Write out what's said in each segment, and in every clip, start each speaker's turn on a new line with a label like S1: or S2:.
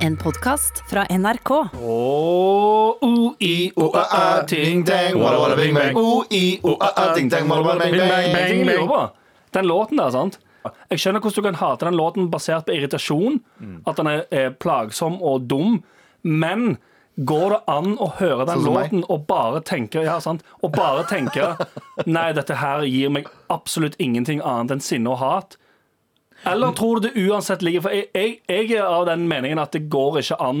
S1: En podkast fra NRK.
S2: O-i-o-a-a, ting-tang, walla-walla, bing-bang. O-i-o-a-a, ting-tang, walla-walla,
S3: Bing, bang,
S2: bing-bang.
S3: bing. Jeg lurer på. Den låten der, sant? Jeg skjønner hvordan du kan hate den låten basert på irritasjon. At den er, er plagsom og dum. Men går det an å høre den
S2: Sånn som meg.
S3: låten og bare tenke Ja, sant? Og bare tenke Nei, dette her gir meg absolutt ingenting annet enn sinne og hat. Eller tror du det uansett ligger For jeg, jeg, jeg er av den meningen at det går ikke an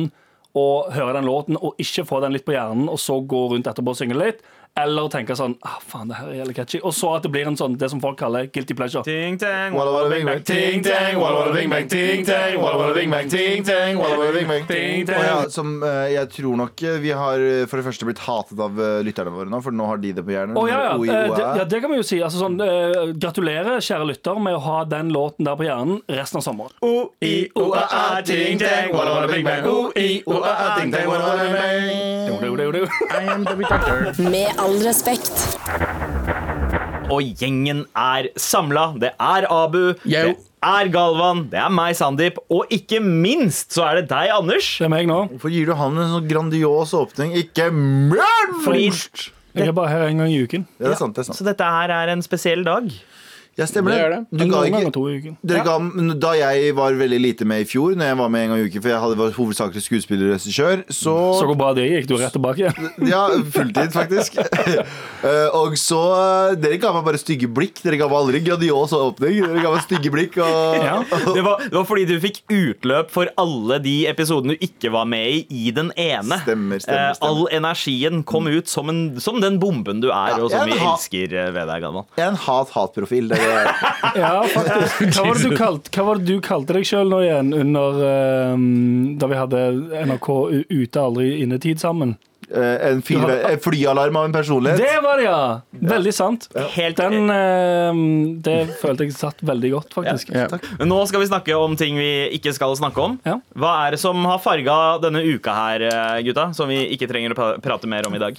S3: å høre den låten og ikke få den litt på hjernen, og så gå rundt etterpå og synge litt. Eller tenke sånn ah, faen, det her er jævlig catchy. Og så at det blir en sånn, det som folk kaller guilty pleasure.
S4: Ting-tang,
S2: Walla-walla, bing-bang, ting-tang, walla-walla, bing-bang, ting-tang, walla-walla, bing-bang, ting-tang, walla-walla, bing-bang, ting-tang.
S4: Ting-tang.
S2: Å
S4: Ja.
S2: ja, som eh, jeg tror nok eh, vi har eh, for det første blitt hatet av eh, lytterne våre nå, for nå har de det på hjernen.
S3: Å, ja, ja.
S2: Oi,
S3: Eh,
S2: oi,
S3: det, ja,
S2: oi.
S3: det kan vi jo si. Altså, sånn, eh, gratulerer, kjære lytter, med å ha den låten der på hjernen resten av sommeren.
S4: O-i-o-a-a, ting-tang, walla-walla, bing-bang. O-i-o-a-a, ting-tang, walla-walla, bing-bang.
S3: Jo, jo, jo, jo, jo.
S4: I am the doctor.
S1: Med all respekt.
S4: Og gjengen er samla. Det er Abu.
S5: Yo.
S4: Det er Galvan. Det er meg, Sandeep. Og ikke minst så er det deg, Anders.
S3: Det er meg nå.
S2: Hvorfor gir du han en sånn grandios åpning? Ikke mørn!
S4: Fordi
S3: Jeg er bare her en gang i uken.
S2: Ja, det er sant, det er sant.
S4: Så dette her er en spesiell dag.
S2: Jeg stemmer
S5: Det er
S2: det.
S5: det.
S2: Du
S3: Noen
S2: ga ikke
S3: ganger to i uken.
S2: Dere ga, da jeg var veldig lite med i fjor, Når jeg var med en gang i uken for jeg hadde vært hovedsakelig skuespiller og regissør, så
S3: Mm, Så hvor bra det gikk. Du er rett tilbake igjen.
S2: Ja, fulltid, faktisk. Eh, og så eh, Dere ga meg bare stygge blikk. Dere ga meg aldri gradios åpning. Dere ga meg stygge blikk og
S3: Ja.
S4: Det var, det var fordi du fikk utløp for alle de episodene du ikke var med i, i den ene.
S2: Stemmer, stemmer,
S4: Eh, All energien kom ut som, en, som den bomben du er,
S2: Ja,
S4: og som
S2: jeg
S4: vi
S2: har-
S4: elsker eh, ved deg, Galvan.
S2: Jeg er en hat-hat-profil. Det er det.
S3: Ja, faktisk. Hva var det du kalte, hva var det du kalte deg sjøl nå igjen, under eh, da vi hadde NRK u- ute aldri innetid sammen?
S2: Eh, en, fire, en flyalarm av en personlighet.
S3: Det var det, ja! Veldig sant.
S4: Helt-
S3: Den eh, Det følte jeg satt veldig godt, faktisk.
S5: Ja.
S4: Men Nå skal vi snakke om ting vi ikke skal snakke om.
S3: Ja.
S4: Hva er det som har farga denne uka her, eh, gutta? Som vi ikke trenger å pra- prate mer om i dag.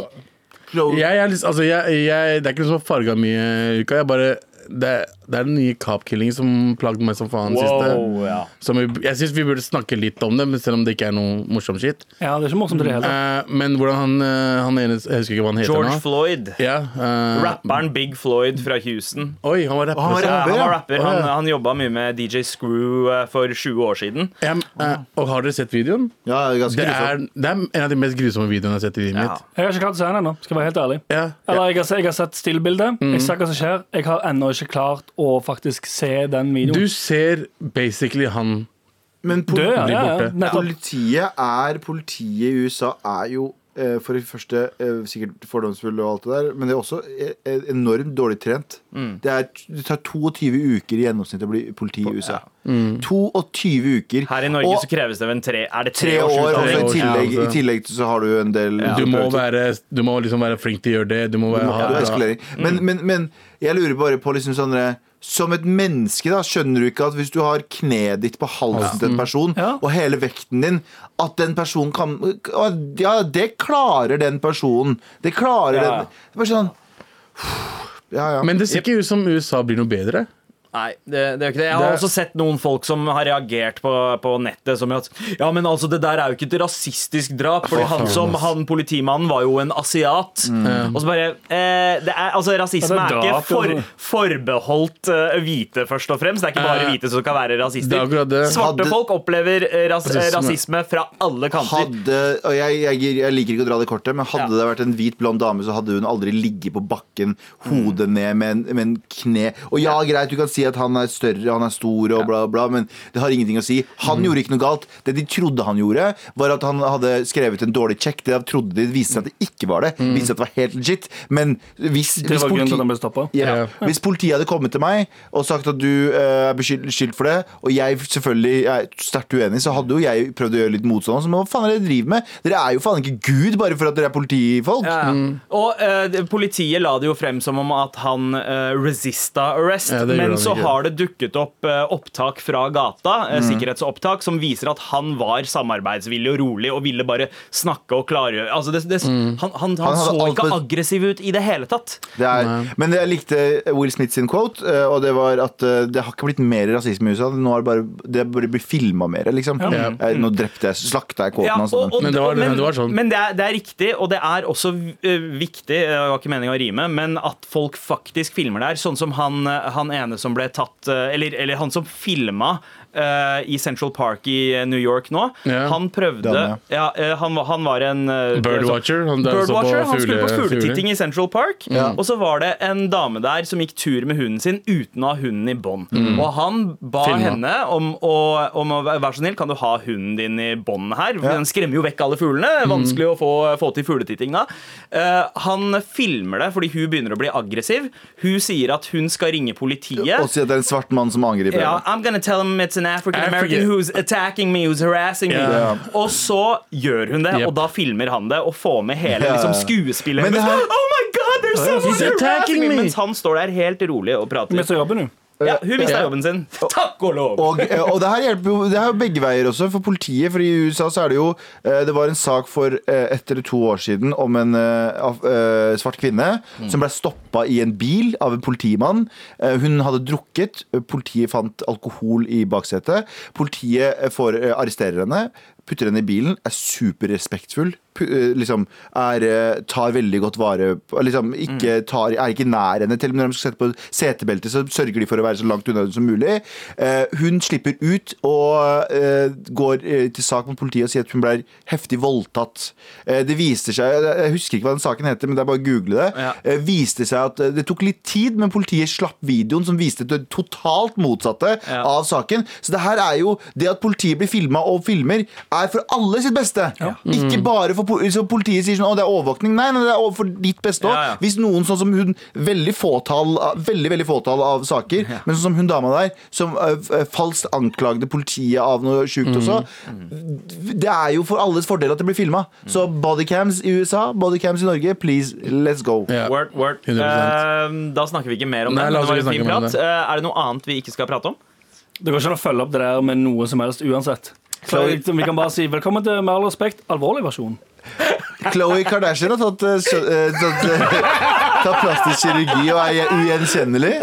S2: Clo-
S5: Jeg, er litt- altså, jeg, jeg, det er ikke noe som har farga mye i uka. Jeg bare, det, er- det er den nye Kapp-killingen som plagde meg som faen siste.
S4: ja.
S5: Som vi, jeg syns vi burde snakke litt om det, men selv om det ikke er noe morsom shit.
S3: Ja, det er ikke morsomt i det hele tatt.
S5: Eh, men hvordan han, eh, han ene Jeg husker ikke hva han heter
S4: George
S5: nå.
S4: Floyd.
S5: Ja, eh,
S4: Rapperen Big Floyd fra Houston.
S5: Oi, han var rapper.
S2: Han var
S5: også.
S4: Ja, han
S2: ja.
S4: var rapper.
S5: Å,
S4: Han,
S5: ja.
S4: han jobba mye med DJ Screw eh, for 20 år siden.
S5: Ja, men, eh, og har dere sett videoen?
S2: Ja, det er ganske
S5: Det
S2: grusomt.
S5: er, det er en av de mest grusomme videoene jeg har sett i livet
S4: Ja.
S5: mitt.
S3: Jeg har ikke klart å se den ennå, skal jeg være helt ærlig.
S5: Ja.
S3: Eller jeg har, se- jeg har sett stillbildet. Jeg ser hva som skjer. Jeg har ennå ikke klart å faktisk se den
S5: Du
S3: videoen.
S5: ser basically han
S2: Men pol-
S3: Død, ja. ja, ja.
S5: borte.
S3: Nettopp.
S2: Politiet er Politiet i USA er jo eh, for det første eh, sikkert fordomsfulle og alt det der, men det er også eh, eh, enormt dårlig trent. Det, er, det tar 22 uker i gjennomsnitt å bli politi i USA. 22 uker.
S4: Her i Norge
S2: og
S4: så kreves det vel en tre Er det
S2: tre år, og så
S5: tre
S2: i
S5: år,
S2: tillegg,
S5: ja,
S2: i
S5: altså.
S2: tillegg så har du en del
S5: Du må, være, du må liksom være flink til å gjøre det. Du må være,
S2: Ja, du
S5: ha-
S2: er eskalering. Men, men, men jeg lurer bare på liksom sånne Som et menneske, da, skjønner du ikke at hvis du har kneet ditt på halsen til en person,
S3: Ja.
S2: og hele vekten din, at den personen kan og Ja, det klarer den personen. Det klarer
S3: Ja.
S2: den Det er bare sånn Ja, ja.
S5: Men det ser ikke ut som USA blir noe bedre.
S4: Nei, det, det er ikke det. Jeg har
S5: Det-
S4: også sett noen folk som har reagert på, på nettet som at Ja, men altså, det der er jo ikke et rasistisk drap, Fordi han som han politimannen var jo en asiat. Og så bare eh, det er, Altså, rasisme
S3: Ja,
S4: er,
S3: det er drap,
S4: ikke for,
S3: altså.
S4: forbeholdt eh, hvite, først og fremst. Det er ikke bare
S5: Eh,
S4: hvite som kan være
S5: det er
S4: rasister.
S5: akkurat det.
S4: Svarte
S2: Hadde-
S4: folk opplever eh, ras, eh,
S5: Rasisme.
S4: rasisme fra alle kanter.
S2: Hadde, og jeg, jeg, gir- jeg liker ikke å dra det kortet, men hadde
S4: Ja.
S2: det vært en hvit, blond dame, så hadde hun aldri ligget på bakken, hodet
S3: Mm.
S2: ned med en, med en kne. Og ja, greit, du kan si at han er større, han er stor og bla, bla, men det har ingenting å si.
S3: Mm.
S2: Han gjorde ikke noe galt. Det de trodde han gjorde, var at han hadde skrevet en dårlig check. Det de trodde de viste seg at det ikke var det. Viste seg at det var helt legit. Men hvis,
S3: Mm. Det
S2: hvis
S3: var grunnen til
S2: politi-
S3: at den ble stoppa.
S2: ja.
S5: Ja.
S2: Hvis politiet hadde kommet til meg og sagt at du eh, er beskyldt beskyldt for det, og jeg selvfølgelig er sterkt uenig, så hadde jo jeg prøvd å gjøre litt motstand. Så, men hva faen er det dere driver med? Dere er jo faen ikke Gud bare for at dere er politifolk.
S4: Ja.
S5: Mm.
S4: Og eh, det- politiet la det jo frem som om at han eh, resista arrest,
S5: Ja, det gjorde
S4: men
S5: han
S4: så så
S2: Ok.
S4: har det dukket opp eh, opptak fra gata, eh,
S5: Mm.
S4: sikkerhetsopptak, som viser at han var samarbeidsvillig og rolig og ville bare snakke og klargjøre altså det, det,
S5: Mm.
S4: han, han, han,
S2: Han hadde
S4: så
S2: alt
S4: ikke
S2: på-
S4: aggressiv ut i det hele tatt.
S2: Det er, men jeg likte Will Smith sin quote, eh, og det var at eh, det har ikke blitt mer rasisme i USA. Nå har det bare, det bare blitt filma mer, liksom. Eh, Nå drepte jeg, slakta jeg quoten
S4: Ja,
S2: hans.
S4: og, og,
S5: Men det var-
S4: men,
S5: det var sånn.
S4: men det, er, det er riktig, og det er også eh, viktig eh, Det var ikke meningen å rime, men at folk faktisk filmer der. Sånn som han, eh, han ene som ble tatt eh, Eller, eller han som filma eh, i Central Park i eh, New York nå.
S5: Ja.
S4: Han prøvde
S2: Den,
S4: ja, eh, han, var- han var en eh,
S5: Birdwatcher, han der som så på
S4: Birdwatcher, han skulle på
S5: fugle-
S4: fugletitting i Central Park. Og så var det en dame der som gikk tur med hunden sin uten å ha hunden i bånd. Og han ba
S5: Filma.
S4: henne om å, om å være så snill, kan du ha hunden din i bånd her? For Den skremmer jo vekk alle fuglene. Vanskelig å få, få til fugletitting da. Eh, han filmer det fordi hun begynner å bli aggressiv. Hun sier at hun skal ringe politiet.
S2: Og si at det er en svart mann som angriper.
S4: Ja,
S2: henne.
S4: I'm gonna tell him it's an African American
S5: African.
S4: who's attacking me, who's harassing me.
S5: Ja.
S4: Og så gjør hun det,
S5: Yep.
S4: og da filmer han det og får med hele
S2: Ja.
S4: liksom, skuespillet.
S2: Men det her-
S4: Oh my god, there's someone
S5: He's attacking
S4: harassing me!
S5: me.
S4: Mens han står der helt rolig og prater.
S3: Mister jobben, du.
S4: Ja, hun mista
S5: Ja.
S4: jobben sin. Takk og lov!
S2: Og, eh, og det her hjelper jo det er jo begge veier også, for politiet. For i USA så er det jo eh, Det var en sak for eh, ett eller to år siden om en eh, af- eh, svart kvinne som ble stoppa i en bil av en politimann. Eh, Hun hadde drukket. eh, Politiet fant alkohol i baksetet. Politiet eh, får, eh, arresterer henne, putter henne i bilen, er superrespektfull. pu- eh, Liksom er, eh, tar veldig godt vare på liksom ikke tar, Er ikke nær henne. Til og med når de skal sette på setebelte, så sørger de for å være så langt unna henne som mulig. Eh, hun slipper ut og eh, går eh, til sak mot politiet og sier at hun ble heftig voldtatt. Eh, det viste seg jeg, jeg husker ikke hva den saken heter, men det er bare å google det.
S4: Ja.
S2: Eh, viste seg at eh, Det tok litt tid, men politiet slapp videoen som viste det totalt motsatte
S4: Ja.
S2: av saken. Så det her er jo Det at politiet blir filma og filmer, er for alle sitt beste. Ikke bare for po- så politiet sier sånn Å, det er overvåkning. Nei, nei, det er over- for ditt beste òg.
S4: Ja, ja.
S2: Hvis noen sånn som hun Veldig fåtall Veldig, veldig fåtall av saker Men sånn som hun dama der Som eh, f- eh, falskt anklagde politiet av noe sykt også Det er jo for alles fordel at det blir filmet Så bodycams i USA Bodycams i Norge Please, let's go
S5: Ja.
S4: Word, word.
S5: 100%.
S4: Eh, da snakker vi ikke mer om
S5: Nei,
S4: det.
S5: la
S4: Men
S5: oss
S4: det var
S5: ikke
S4: en fin
S5: snakke om
S4: prat.
S5: det.
S4: Eh, er det noe annet vi ikke skal prate om?
S3: Det går ikke an å følge opp det der med noe som helst uansett. Så
S2: Chloe-
S3: vi kan bare si velkommen til Med all respekt, alvorlig versjon.
S2: Khloe Kardashian har tatt, eh, sø- eh, tatt, eh, tatt plastisk kirurgi Og er ugjenkjennelig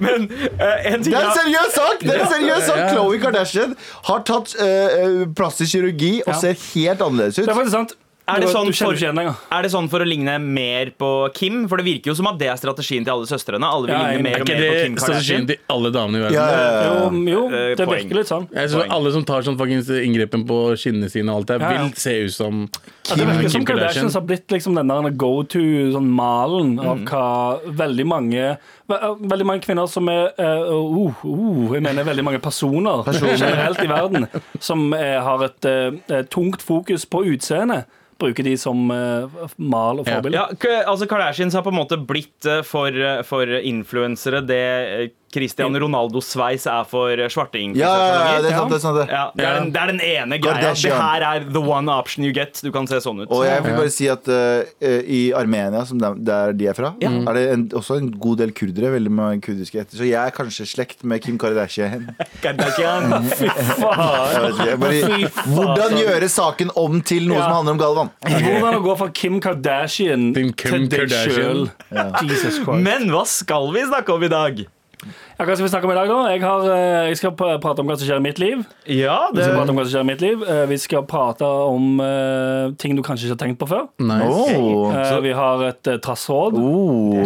S4: Men eh, en ting
S2: Det er
S4: er-
S2: en seriøs sak! Det er en seriøs sak
S5: Ja.
S2: Khloe Kardashian har tatt eh, eh, plastisk kirurgi Og
S3: Ja.
S2: ser helt annerledes ut
S3: Det er faktisk sant.
S4: Er det
S3: Du-
S4: sånn
S3: du kjenner
S4: for-
S3: ikke igjen lenger.
S4: Er det sånn for å ligne mer på Kim? For det virker jo som at det er strategien til alle søstrene. Alle vil
S3: Ja, jeg-
S4: ligne
S5: Er
S4: mer og
S5: ikke
S4: mer på Kim
S5: det strategien
S4: Kardashian.
S5: til alle damene i verden?
S2: Ja, ja, ja.
S3: Jo, jo,
S4: eh,
S3: det
S4: poeng.
S3: virker litt sånn.
S5: Jeg synes
S4: Poeng.
S5: Alle som tar sånn fuckings inngrepen på skinnene sine, og alt det,
S3: Ja, ja.
S5: vil se ut som
S3: At det virker som
S5: Kim Kardashian.
S3: Kardashians har blitt liksom den der go to-malen sånn malen av
S4: Mhm.
S3: hva veldig mange ve eh, Veldig mange kvinner som er eh, uh, uh, Jeg mener veldig mange personer, generelt i verden som eh, har et eh, eh, tungt fokus på utseende, bruker de som eh, mal og
S5: Ja.
S3: forbilde.
S4: Ja, k- altså Kardashians har på en måte blitt eh, for, eh, for influensere det eh, Cristiano Ronaldo-sveis er for eh, svarte
S2: Ja, ja, ja, det er sant, det er sant det.
S4: Ja, det, er den, det er den ene greia. Det
S2: Kardashian.
S4: her er the one option you get. Du kan se sånn ut.
S2: Og jeg vil bare si at eh, eh, i Armenia, som der, der de er fra, er det en, også en god del kurdere. Veldig mange kurdiske etter. Så jeg er kanskje slekt med Kim Kardashian.
S4: Kardashian.
S3: Fy faen!
S2: Jeg vet ikke, jeg bare, hvordan gjøre saken om til noe
S3: Ja.
S2: som handler om Galvan?
S3: Hvordan å gå fra Kim Kardashian
S5: Til
S3: til
S5: Kim
S3: deg
S5: Kardashian.
S3: sjøl. Jesus Christ.
S4: Men hva skal vi snakke om i dag?
S3: Ja, hva skal vi snakke om i dag, da? Jeg, har, eh, jeg skal pr- prate om hva som skjer i mitt liv.
S4: Ja,
S3: Vi
S4: det
S3: skal prate om hva som skjer i mitt liv. Eh, Vi skal prate om eh, ting du kanskje ikke har tenkt på før.
S5: Nice.
S2: Oh.
S3: Eh, Vi har et eh, trassråd.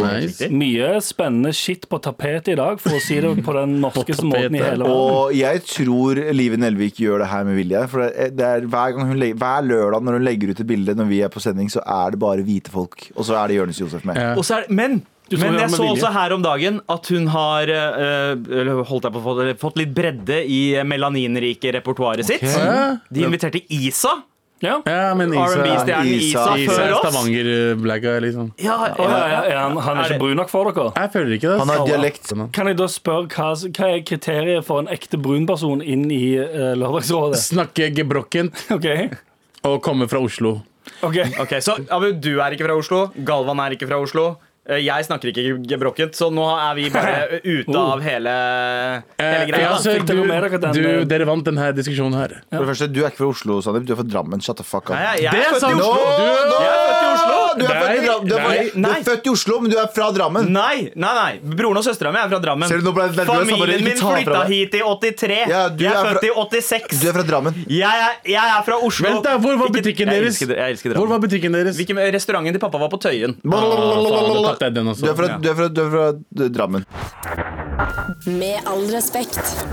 S5: nice.
S3: Mye spennende shit på tapetet i dag, for å si det på den norskeste måten i
S5: tapetet.
S3: hele verden.
S2: Og jeg tror Live Nelvik gjør det her med vilje. For det er- det er hver, gang hun legger, hver lørdag når hun legger ut et bilde når vi er på sending, så er det bare hvite folk. Og så er det Jonis Josef med.
S5: Ja.
S4: Og så er, det- men
S3: tror
S4: men
S3: det er
S4: jeg
S3: med
S4: så
S3: vilje.
S4: også her om dagen at hun har eh, eller holdt jeg på å få, eller fått litt bredde i melaninrike repertoaret sitt.
S5: Ja,
S4: De inviterte Isa.
S3: Ja.
S4: Eh,
S5: ja, men Isa
S4: R&B-stjernen Isa,
S2: Isa.
S5: Isa
S4: før
S5: er
S4: oss.
S5: Stavanger-blacka, liksom.
S4: Ja,
S3: Å, ja,
S4: ja,
S3: ja, ja, han, han
S4: eh,
S3: er
S4: Er det-
S3: ikke brun nok for dere.
S5: Jeg føler ikke det. altså.
S2: Han har
S5: ass.
S2: dialekt.
S3: Kan jeg da spørre hva, hva er kriteriet for en ekte brun person inn i eh, Lørdagsrådet?
S5: Snakke gebrokkent
S3: OK?
S5: og komme fra Oslo.
S3: ok
S4: Ok, Så Abu, du er ikke fra Oslo. Galvan er ikke fra Oslo. Eh, Jeg snakker ikke gebrokkent, så nå er vi bare ute av hele, hele
S5: Oh. Eh,
S4: greia.
S5: ja, så
S3: Fikk dere
S5: du,
S3: med dere den,
S5: du,
S3: eh,
S5: dere vant denne diskusjonen her.
S2: For det første, du er ikke fra Oslo, Sandeep. Du er fra Drammen. Shut the fuck up.
S4: Nei, jeg,
S5: Det
S4: jeg
S5: er
S4: er født i
S5: sånn- sant.
S4: Oslo!
S5: Nå,
S4: Du,
S5: nå!
S4: jeg er født i Oslo!
S2: Du er, født i
S5: Nei,
S2: Dram- du, er
S5: nei,
S2: født- du
S4: nei.
S2: er født i Oslo, men du er fra Drammen.
S4: Nei, nei, nei. Broren og søstera mi er fra Drammen.
S2: Ser du, nå ble jeg nervøs, jeg bare,
S4: Familien
S2: ikke
S4: min
S2: ta fra
S4: flytta
S2: deg.
S4: hit i 83.
S2: Ja, du
S4: jeg er,
S2: er fra-
S4: født i 86.
S2: Du er fra Drammen.
S4: jeg, er, jeg er fra Oslo.
S5: Vent da, Hvor var
S4: Ikke-
S5: butikken
S4: jeg
S5: deres?
S4: elsker- Jeg elsker
S5: Hvor
S4: Drammen.
S5: var butikken deres? Ah,
S4: Hvilken restauranten til pappa var på Tøyen?
S5: da tapte jeg den også.
S2: Du er fra,
S4: Ja.
S2: du er fra, du er fra Drammen.
S1: Med all respekt.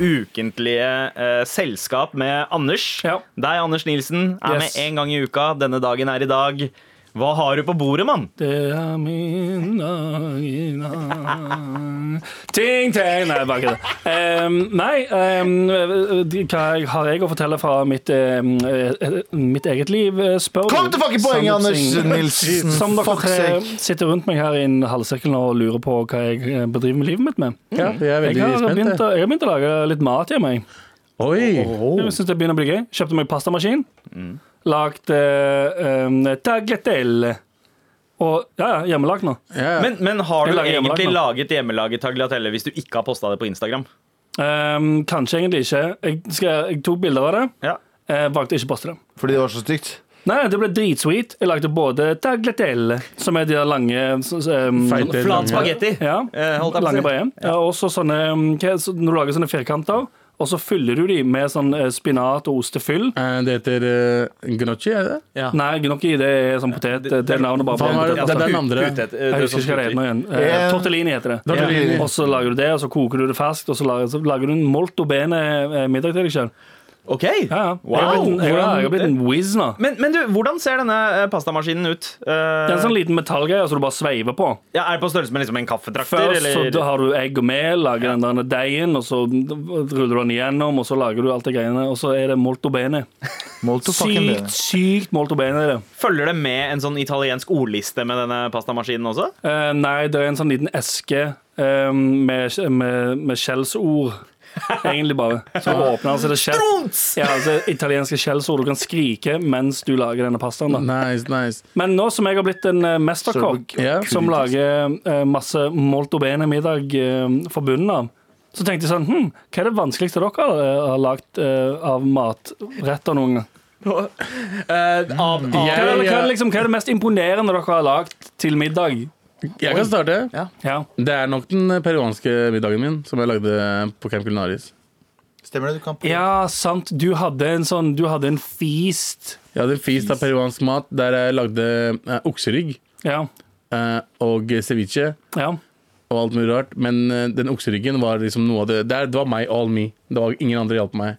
S4: Ukentlige eh, selskap med Anders.
S3: Ja.
S4: Deg, Anders Nilsen, er
S3: Yes.
S4: med én gang i uka. Denne dagen er i dag. Hva har du på bordet, mann?
S3: Det er min dag i dag. Ting, ting Nei, bare ikke det. Ehm, nei, ehm, de- hva jeg- har jeg å fortelle fra mitt, ehm, eh, mitt eget liv? eh, Spør
S2: Kom til fucking poenget,
S3: Sandeep
S2: Anders
S3: Singh.
S2: Nilsen.
S3: Som dere
S2: Fuck
S3: tre
S2: sake.
S3: sitter rundt meg her i en halvsirkel nå og lurer på hva jeg eh, bedriver med livet mitt med.
S5: Ja, jeg er
S3: Jeg
S5: veldig
S3: har,
S5: spent.
S3: begynt
S5: jeg.
S3: å, jeg har begynt å lage litt mat hjemme. jeg.
S5: Oi!
S3: Jeg synes det begynner å bli gøy. Kjøpte meg pastamaskin.
S5: Mm.
S3: Lagd eh, um, tagliatelle. Og ja, ja, hjemmelagd nå.
S5: Ja.
S4: Men, men har
S3: Jeg
S4: du
S3: lager hjemmelag
S4: egentlig
S3: nå.
S4: laget hjemmelaget tagliatelle hvis du ikke har posta det på Instagram?
S3: Ehm, kanskje egentlig ikke. Jeg, skal, jeg tok bilder av det.
S4: Ja.
S3: eh, valgte ikke å poste det.
S2: Fordi det var så stygt.
S3: Nei, det ble dritsweet. Jeg lagde både tagliatelle, som er de der lange så, så, um,
S5: Feite. Det er
S4: Flat
S5: lange.
S4: spagetti.
S3: Ja,
S4: Eh, holdt jeg på å
S3: lange
S4: si.
S3: breie. Ja, og så sånne um, hva- så Når du lager sånne firkanter, og så fyller du de med sånn eh, spinat og ostefyll.
S5: Eh, Det heter uh, gnocchi, er det det?
S4: Ja.
S3: Nei, gnocchi det er sånn potet. Det, det er navnet bare på
S5: Faen,
S3: en
S5: hva er
S3: potet.
S5: det-
S3: altså.
S5: det er den andre.
S3: Jeg
S4: sånn
S3: husker ikke hva det heter nå igjen. Eh,
S2: Eh,
S3: tortellini heter det.
S5: Tortellini.
S3: Og så lager du det, og så koker du det ferskt, og så lager, så lager du en molto bene eh, middag til deg sjøl.
S4: Ok,
S3: Ja, ja. Jeg har
S4: wow
S3: blitt en- jeg har- jeg har blitt en whiz nå.
S4: men, men du, hvordan ser denne eh, pastamaskinen ut? Eh,
S3: Det er en sånn liten metallgreie som du bare sveiver på.
S4: ja, er det på størrelse med liksom en kaffetrakter?
S3: Først så
S4: Eller?
S3: da har du egg og mel, lager den der deigen, og så ruller du den igjennom, og så lager du alt det greiene, og så er det molto bene.
S2: Molto fucking
S3: Sykt,
S2: det.
S3: sykt molto bene er det.
S4: Følger det med en sånn italiensk ordliste med denne pastamaskinen også?
S3: Eh, nei, det er en sånn liten eske eh, med, med, med skjellsord. Egentlig bare. Så åpner den, så er det skjell. Ja, altså, italienske skjellsord du kan skrike mens du lager denne pastaen. Da.
S5: Nice, nice.
S3: Men nå som jeg har blitt en eh, mesterkokk
S5: Ja.
S3: som lager eh, masse molto bene middag eh, for bunnen av, så tenkte jeg sånn hm, Hva er det vanskeligste dere har, eh, har lagd eh, av matretter noen gang?
S4: Eh, av, av,
S3: Hva er, Mm. det, hva, er det,
S5: Jeg,
S3: liksom, hva er det mest imponerende dere har lagd til middag?
S5: jeg, jeg kan starte.
S3: Ja.
S5: Det er nok den eh, peruanske middagen min som jeg lagde eh, på Camp Culinaris.
S2: Stemmer det? Du kan på
S3: Ja, sant. Du hadde en sånn Du hadde en feast.
S5: Jeg hadde en feast av peruansk mat der jeg lagde eh, okserygg
S3: Ja.
S5: eh, og ceviche
S3: ja.
S5: og alt mulig rart. Men eh, den okseryggen var liksom noe av det Det, er- det var meg, all me. Det var Ingen andre hjalp meg.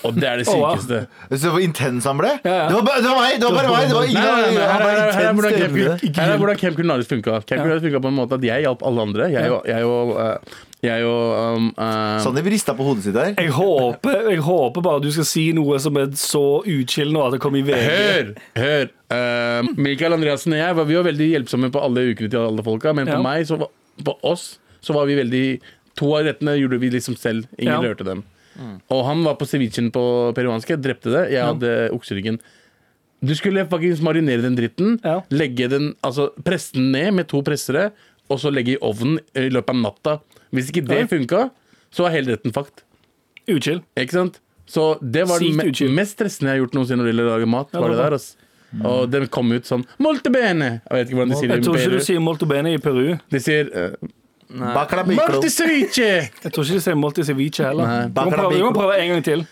S5: Og det er det
S3: Å, wow.
S5: sykeste.
S2: Så hvor intens han ble?
S3: Ja, ja.
S2: Det, var bare, det var meg! Det var bare meg! Det var
S5: Nei,
S2: ingen
S5: nei, nei,
S2: han
S5: her
S2: var
S5: er- her er
S2: intens
S5: hvordan Camp
S2: stemme.
S5: Cul- her er hvordan Camp Culinaris funka. Camp Culinaris funka på en måte at jeg hjalp alle andre. Jeg og jeg og, eh, jeg og um, eh,
S2: Sandeep rista på hodet sitt der.
S3: Jeg håper, jeg håper bare du skal si noe som er så utskillende at det kommer i VG.
S5: Hør! hør Eh, Michael Andreassen og jeg var, vi var veldig hjelpsomme på alle ukene til alle folka, men
S3: Ja.
S5: på meg, så var, på oss, så var vi veldig To av rettene gjorde vi liksom selv. Ingen
S3: Ja.
S5: rørte dem. Og han var på cevichen på peruanske, drepte det. Jeg hadde okseryggen. Du skulle faktisk marinere den dritten,
S3: Ja.
S5: legge den, altså presse den ned med to pressere, og så legge i ovnen i løpet av natta. Hvis ikke det
S3: Ja.
S5: funka, så var hele retten fucked.
S3: Utskill.
S5: Ikke sant? Så det var det
S3: Sykt
S5: me
S3: utskilt.
S5: mest stressende jeg har gjort noensinne når det gjelder å lage mat. var
S3: det
S5: det
S3: var
S5: der, ass. Og den kom ut sånn Molte bene! Jeg vet ikke hvordan de sier det.
S3: Jeg tror ikke
S5: bedre.
S3: du sier molto bene i Peru.
S5: De sier eh,
S2: Bacala bacalo.
S5: Molte ceviche!
S3: Jeg tror ikke du sier molti ceviche heller. Du må
S2: Bacala
S3: prøve, du må
S2: bacalo.
S3: prøve en gang til.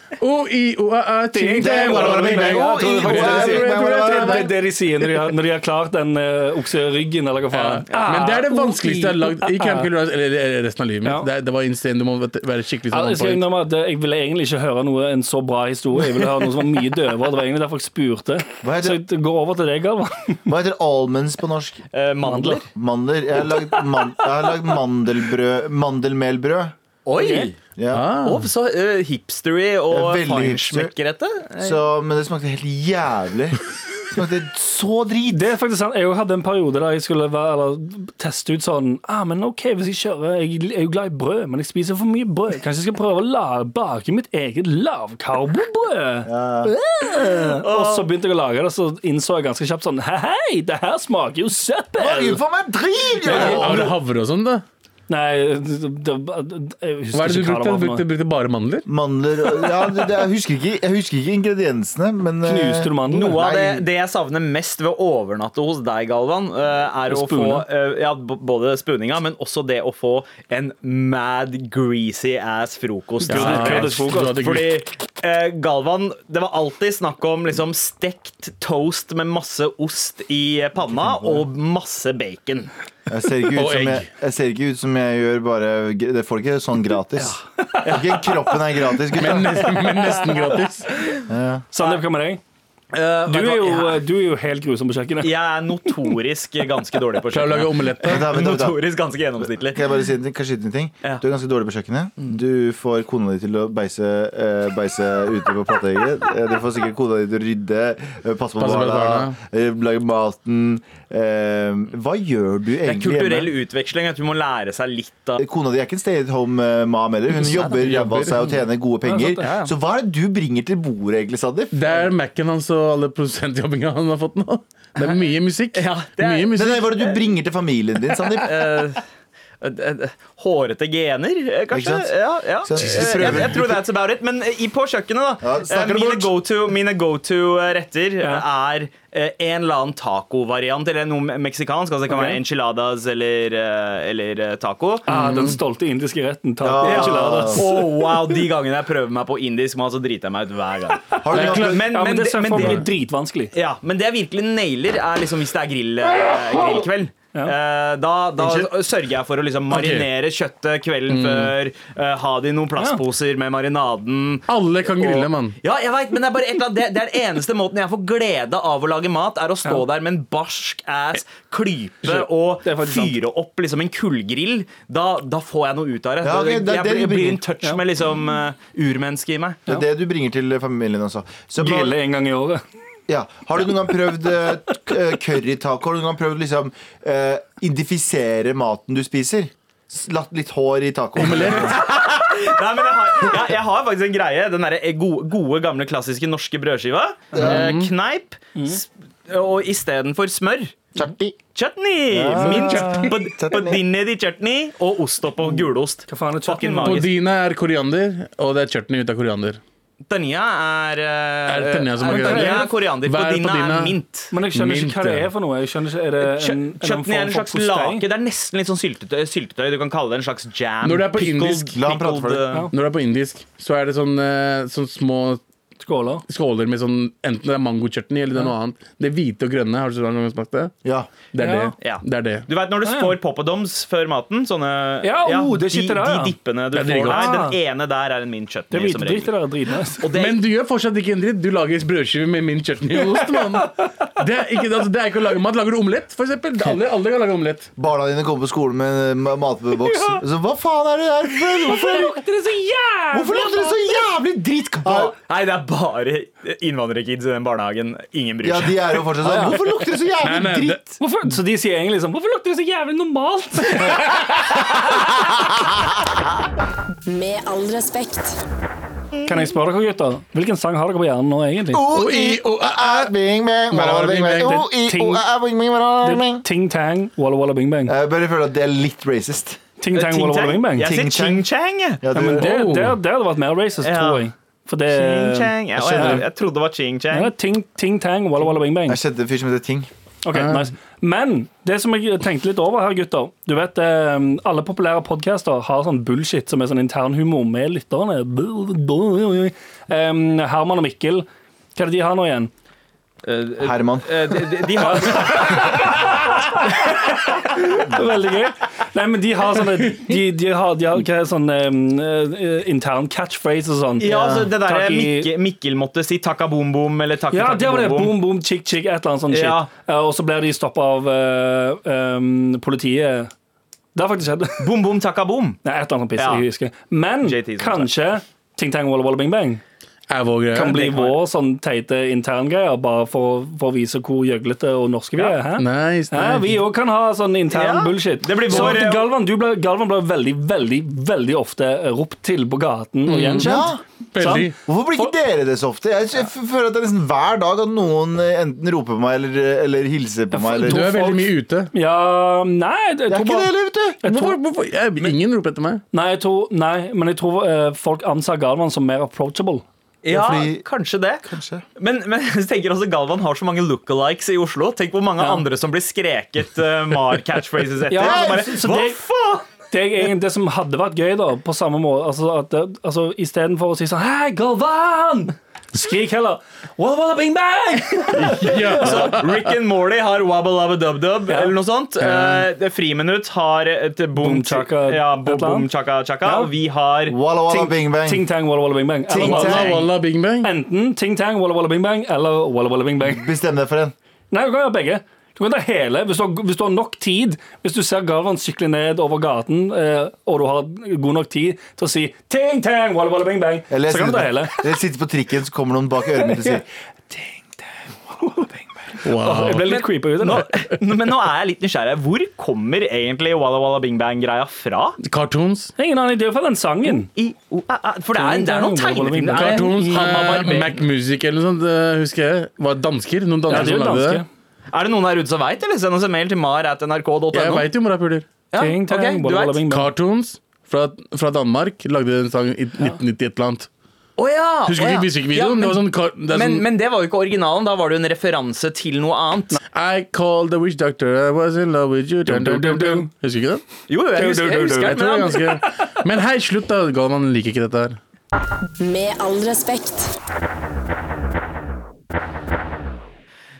S5: O-i-o-a-a ting
S3: Jeg
S5: ting,
S3: tror
S5: bla, bla, bla, bla.
S3: faktisk Det er det de- det er det de sier når de har, når de har klart den eh, okseryggen, eller hva faen. Ah,
S5: Men det er det vanskeligste jeg har lagd i Camp Culinaris eller eller resten av livet mitt.
S3: Ja.
S5: Det, det var insane. Du må være skikkelig
S3: Ja,
S5: sånn
S3: Jeg, skal
S5: on point.
S3: innrømme at eh, jeg ville egentlig ikke høre noe, en så bra historie. Jeg ville høre noe som var mye døvere. Det var egentlig derfor jeg spurte.
S2: Hva
S3: Så
S2: heter,
S3: jeg går over til deg, Galvan.
S2: hva heter almonds på norsk?
S4: eh, mandler?
S2: Mandler. Jeg har lagd, man, jeg har lagd mandelbrød. Mandelmelbrød.
S4: Oi!
S2: Ja.
S5: Ah.
S4: Å, så eh, hipstery og
S2: Det er veldig hipster.
S4: feinschmeckerete.
S2: Så, men det smakte helt jævlig. Det er så drit.
S3: Det er faktisk sant. Jeg også hadde en periode der jeg skulle være, eller, teste ut sånn ah, men ok, hvis jeg kjører Jeg er jo glad i brød, men jeg spiser for mye brød. Kanskje jeg skal prøve å la, bake mitt eget lavkarbobrød? Øh. Og så begynte jeg å lage det, og så innså jeg ganske kjapt sånn Hei, hei, det her smaker jo søppel!
S2: For meg drit!
S5: Har
S2: Ja.
S5: du havre og sånn, da?
S3: Nei, det, det, jeg
S5: Hva
S3: husker
S5: er det du
S3: ikke hva det var.
S5: brukte? Du
S3: for
S5: brukte,
S3: noe.
S5: brukte bare mandler?
S2: Mandler ja, det, det, jeg, husker ikke, jeg husker ikke ingrediensene, men eh,
S3: Knuste du mandelen?
S4: Noe av det,
S2: Nei.
S4: det jeg savner mest ved å overnatte hos deg, Galvan, eh, er å få
S3: Spune.
S4: eh, ja, b- både spuninga, men også det å få en mad greasy ass frokost.
S5: Ja,
S3: hadde- du hadde
S5: frokost. Du hadde
S4: Fordi eh, Galvan, det var alltid snakk om liksom stekt toast med masse ost i panna og masse bacon.
S2: Jeg ser, ikke ut
S5: Og
S2: som
S5: egg.
S2: jeg, jeg ser ikke ut som jeg gjør bare Det får ikke sånn gratis. Ikke kroppen er gratis,
S5: Men
S2: gutta.
S5: nesten, men nesten gratis.
S3: Sandeep, hva med deg?
S4: Eh,
S3: Du
S4: vet
S3: er,
S4: hva?
S3: jo,
S4: jeg,
S3: du er jo helt grusom på kjøkkenet.
S4: jeg er notorisk ganske dårlig på
S5: Klarer å lage
S4: kjøkkenet.
S5: omelett. da?
S2: Vent da, vent da, vent da.
S4: Notorisk ganske gjennomsnittlig.
S2: Kan jeg bare si en ting? Kanskje en ting?
S4: Ja.
S2: Du er ganske dårlig på kjøkkenet. Du får kona di til å beise, eh, beise ute på platehegget. Eh, Du får sikkert kona di til å rydde, eh, passe på
S5: Passe på
S2: barna,
S5: barna.
S2: eh, lage maten. Eh, hva gjør du
S4: Det er
S2: egentlig
S4: kulturell
S2: hjemme?
S4: utveksling. At du må lære seg litt av
S2: Kona di er ikke en stay at eh, home-mam heller. Hun jobber, jobber seg og tjener gode penger.
S3: Ja, sant det. Ja, ja.
S2: Så hva er det du bringer til bordet, egentlig, Sandeep?
S5: Det er Mac-en hans og alle produsentjobbinga han har fått nå. Det er mye musikk.
S4: Ja, det er-
S5: mye
S2: Nei, nei,
S5: musikk.
S2: Hva er det du bringer til familien din, Sandeep?
S4: eh, eh, Hårete gener, eh, kanskje?
S2: Ikke sant?
S4: Ja, ja.
S2: Ikke sant?
S4: Eh,
S2: Vi prøver.
S4: Jeg, jeg tror that's about it. Men eh, i- på kjøkkenet, da.
S2: Ja, snakker
S4: eh,
S2: du
S4: mine
S2: bort?
S4: go-to- Mine go-to-retter
S3: Ja.
S4: er eh, en eller annen tacovariant, eller noe me- meksikansk. Altså, det kan
S3: Ok.
S4: være enchiladas eller, eh, eller eh, taco.
S3: Ah, den stolte indiske retten. Taco
S2: Ja.
S3: enchiladas.
S4: Å, wow, De gangene jeg prøver meg på indisk mat, så driter jeg meg ut hver gang. Eh,
S2: Har du
S5: Det er
S2: noe-
S5: klart-
S4: Men,
S3: Ja, men det
S4: det-
S3: ser jeg
S4: men
S3: for meg
S4: det-
S3: er dritvanskelig.
S4: Ja, men det jeg virkelig nailer, er liksom hvis det er grill, eh, grillkveld. Eh, Da, da
S2: Unnskyld? Mm.
S4: sørger jeg for å liksom marinere kjøttet kvelden før. eh, ha det i noen plastposer med marinaden.
S5: Alle kan grille, mann.
S4: Ja, jeg vet, men det er bare et eller annet det, det er den eneste måten jeg får glede av å lage mat, er å stå der med en barsk ass, klype og
S3: Det er faktisk sant.
S4: fyre opp liksom en kullgrill. Da, da får jeg noe ut av det.
S2: Ja, ok, det er det
S4: jeg, blir-
S2: du
S4: jeg blir
S2: bringer.
S4: in touch med liksom eh, urmennesket i meg.
S2: Det er det du bringer til familien også. Så på-
S3: Grille en gang i året.
S2: Ja. Har du noen gang prøvd eh, k- eh, currytaco? Har du noen gang prøvd liksom eh, identifisere maten du spiser? S- Latt litt hår i taco.
S4: Nei, men jeg har, jeg, jeg har faktisk en greie. Den derre gode, gode, gamle, klassiske norske brødskiva.
S5: Mm.
S4: Eh, kneip. s- Og istedenfor smør
S2: Chutney.
S4: chutney!
S2: Ja.
S4: Mint på, på
S2: Chutney. Mm.
S4: dinner i chutney og ost oppå gulost.
S3: Hva faen er chutney?
S4: Fucking
S5: På
S4: magisk.
S5: dine er koriander, og det er chutney ut av koriander.
S4: Tanja er eh,
S5: Er det tanja som er
S4: tanja
S5: koriander?
S4: er koriander. På
S5: Hva er på
S4: dina
S5: dina?
S4: er mint.
S3: Men jeg skjønner
S5: Mint,
S3: ikke hva det
S5: ja.
S3: er for noe. Jeg skjønner ikke, er det en, en, eller annen
S4: Chutney er en
S3: form
S4: slags
S3: for postei?
S4: lake. Det er nesten litt sånn syltetøy. syltetøy. Du kan kalle det en slags jam.
S5: Når det er på
S4: Pickled-
S5: indisk-
S2: La han prate for det.
S4: pickled, eh,
S3: Ja.
S5: Når det er på indisk, så er det sånn, eh, sånn små
S3: Skåler.
S5: skåler med sånn Enten det er mangochutney eller det er noe annet. Det hvite og grønne, har du så langt gang smakt det?
S2: Ja.
S5: Det er
S3: Ja.
S5: det.
S4: Ja.
S5: Det er det.
S4: Du vet når du
S3: Ah, ja.
S4: får poppadoms før maten? Sånne,
S3: Ja, oh, det
S4: de,
S3: sitter der, ja.
S4: de dippene du
S5: Det
S4: får
S5: er dritgodt.
S4: der.
S3: Ah.
S4: Den ene der er en mint
S3: Det er
S4: chutney. som
S3: hvitdritt, det der.
S4: regel.
S3: Dritnice.
S4: Og det,
S5: Men du gjør fortsatt ikke en dritt. Du lager brødskiver med min chutney og ost. mann. Det er ikke, altså, det er ikke å lage mat. Lager du omelett, for eksempel? Alle, alle kan lage omelett.
S2: Barna dine kommer på skolen med en ma- matboks. Så hva faen er det der? for? Hvorfor,
S3: Det er så jævlig!
S2: hvorfor lukter det så jævlig dritt?
S4: Ba- Nei, det er bare innvandrerkids i den barnehagen. Ingen bryr
S2: Ja,
S4: seg.
S2: de er jo fortsatt sånn. Hvorfor lukter det så
S5: Nei,
S2: jævlig
S5: nei, det-
S2: dritt?
S3: Hvorfor? Så de sier egentlig sånn Hvorfor lukter det så jævlig normalt?
S1: Med all respekt.
S3: Kan jeg spørre dere, gutter? Hvilken sang har dere på hjernen nå, egentlig?
S4: Oh.
S2: O-i, o-æ-æ, bing, bang, walla, bing, bang. O-i, o-æ-æ, bing, bang, walla,
S3: Det er
S2: bing, bang.
S3: Ting Tang, Walla Walla Bing
S4: Eh,
S3: Bang.
S2: Jeg bare føler at det er litt racist.
S3: Ting Tang, Walla Walla Bing Bang.
S4: Jeg sier
S2: Ting-tang.
S4: ching-chang. jeg.
S2: Ja,
S3: Ja, men det,
S2: det,
S3: det, det hadde vært mer racist,
S4: Oh. Ja.
S3: tror jeg. For det
S4: Ching-chang. Ja,
S3: Jeg
S4: og jeg,
S3: skjønner.
S4: jeg trodde det var ching-chang.
S3: Ja, ting, ting Tang, Walla Walla Bing Bang.
S2: jeg kjente en fyr som heter Ting.
S3: Ok, nice. Men det som jeg tenkte litt over her, gutter Du vet, eh, Alle populære podcaster har sånn bullshit som er sånn internhumor med lytterne. Em, Herman og Mikkel, hva er det de har nå igjen?
S4: Eh,
S2: Herman.
S4: eh, de, de, de har
S3: Veldig gøy. Nei, men de har sånne De, de har, de har hva er sånn em, eh, intern catchphrase og sånn.
S4: Ja, altså det
S3: Takk
S4: derre
S3: i-
S4: Mikkel, Mikkel måtte si takka bom-bom eller takka
S3: Ja, det var det.
S4: bom-bom.
S3: Boom, boom, chick, chick, et eller annet sånt
S4: Ja.
S3: shit. Eh, Og så blir de stoppa av eh, em, politiet. Det har faktisk skjedd.
S4: Bom-bom, takka bom.
S3: Nei, et eller annet sånt piss.
S4: Ja.
S3: Jeg husker. Men
S4: JT som
S3: kanskje Ting Tang Walla Walla Bing Bang.
S5: Avo-greier.
S3: kan bli vår sånn teite interngreier, bare for, for å vise hvor gjøglete og norske vi er. Hæ?
S5: Nice,
S3: Hæ?
S5: nice.
S3: Vi òg kan ha sånn intern
S4: Ja,
S3: bullshit.
S4: det blir
S3: Så
S4: vår- eh,
S3: at Galvan, du ble, Galvan ble veldig, veldig veldig ofte ropt til på gaten og gjenkjent.
S5: Veldig.
S3: Sant?
S2: Hvorfor blir ikke dere det så ofte? Jeg, jeg føler at det er nesten hver dag at noen eh, enten roper på meg eller, eh, eller hilser på meg.
S5: Du
S2: Eller.
S5: er veldig mye ute.
S3: Ja Nei, jeg
S2: Det
S3: tror
S2: er ikke det
S3: bare
S2: heller, vet du.
S3: jeg tror,
S5: Hvorfor, hvorfor? Jeg, ingen roper etter meg.
S3: nei, jeg tror, nei, men jeg tror eh, folk anser Galvan som mer approachable.
S4: Ja,
S2: fordi-
S4: kanskje det. Men, men jeg tenker også Galvan har så mange lookalikes i Oslo. Tenk hvor mange
S3: Ja.
S4: andre som blir skreket eh, Mar-catchphrases etter.
S3: Ja,
S4: og bare,
S3: så- så
S4: Hva
S3: det-
S4: faen?
S3: Det, er egentlig det som hadde vært gøy, da, på samme måte altså, at det- altså, Istedenfor å si sånn Hei, Galvan! Skrik heller What about a bing bang?
S4: Så Rick and Morley har Wabba Labba Dub Dub
S3: Ja.
S4: eller noe sånt. Eh, det- Friminutt har et boom,
S3: Boom Chaka-
S4: Ja, bo-
S3: et eller
S4: boom
S3: annet.
S4: chaka chaka.
S3: Ja.
S4: Og vi har
S2: Walla, walla, bing, bang.
S3: Ting tang, walla walla bing bang. Eller
S2: Ting,
S3: bare-
S5: Walla,
S2: Bang.
S5: walla, bing bang.
S3: Enten ting tang, walla walla bing bang eller walla walla bing bang.
S2: Bestem deg for en.
S3: Nei, du kan gjøre begge. Du kan ta hele hvis du, har, hvis du har nok tid. Hvis du ser Galvan sykle ned over gaten, eh, og du har god nok tid til å si ting tang, walla walla bing bang,
S2: Eller
S3: så kan
S2: jeg
S3: du ta hele.
S2: sitter, eller sitter på trikken, så kommer noen bak i øret mitt og sier
S5: Wow.
S3: Jeg ble litt creepy ut av
S4: nå,
S3: det.
S4: men nå er jeg litt nysgjerrig. Hvor kommer egentlig Walla Walla Bing Bang-greia fra?
S5: Cartoons.
S3: Jeg har Ingen annen idé fra den sangen.
S4: I, o- æ, æ, for det er, det er noen tegnefilm. Det er
S5: Cartoons,
S4: Hanna
S5: eh,
S4: Barbera.
S5: Mac Music eller noe sånt, eh, husker jeg. Var dansker. Noen
S3: Ja,
S5: dansker
S3: det er
S5: som
S3: jo
S5: lagde det.
S3: danske.
S4: Er det noen der ute som veit, eller? Send oss en mail til mar.nrk.no.
S5: Jeg veit jo morapuler.
S4: Ja,
S3: Ting tang,
S4: ok, du
S3: walla
S4: vet.
S3: walla bing bang.
S5: Cartoons fra, fra Danmark lagde en sang i 1990 et eller annet.
S4: Å ja,
S5: Husker
S4: Ah, å
S5: du
S4: ja.
S5: ikke musikkvideoen?
S4: Ja,
S5: det
S4: men-
S5: var sånn, kar- det er
S4: men,
S5: sånn
S4: men det var jo ikke originalen. Da var det jo en referanse til noe annet.
S5: I called the witch doctor, I was in love with you dun, dun, dun, dun. Husker du ikke den?
S4: Jo, jo, jeg
S3: Du, du,
S4: husker,
S3: du,
S4: jeg
S3: du.
S4: husker det,
S5: Jeg tror det
S4: men
S5: er
S4: han-
S5: ganske Men hei, slutt da, Galvan liker ikke dette her.
S1: Med all respekt.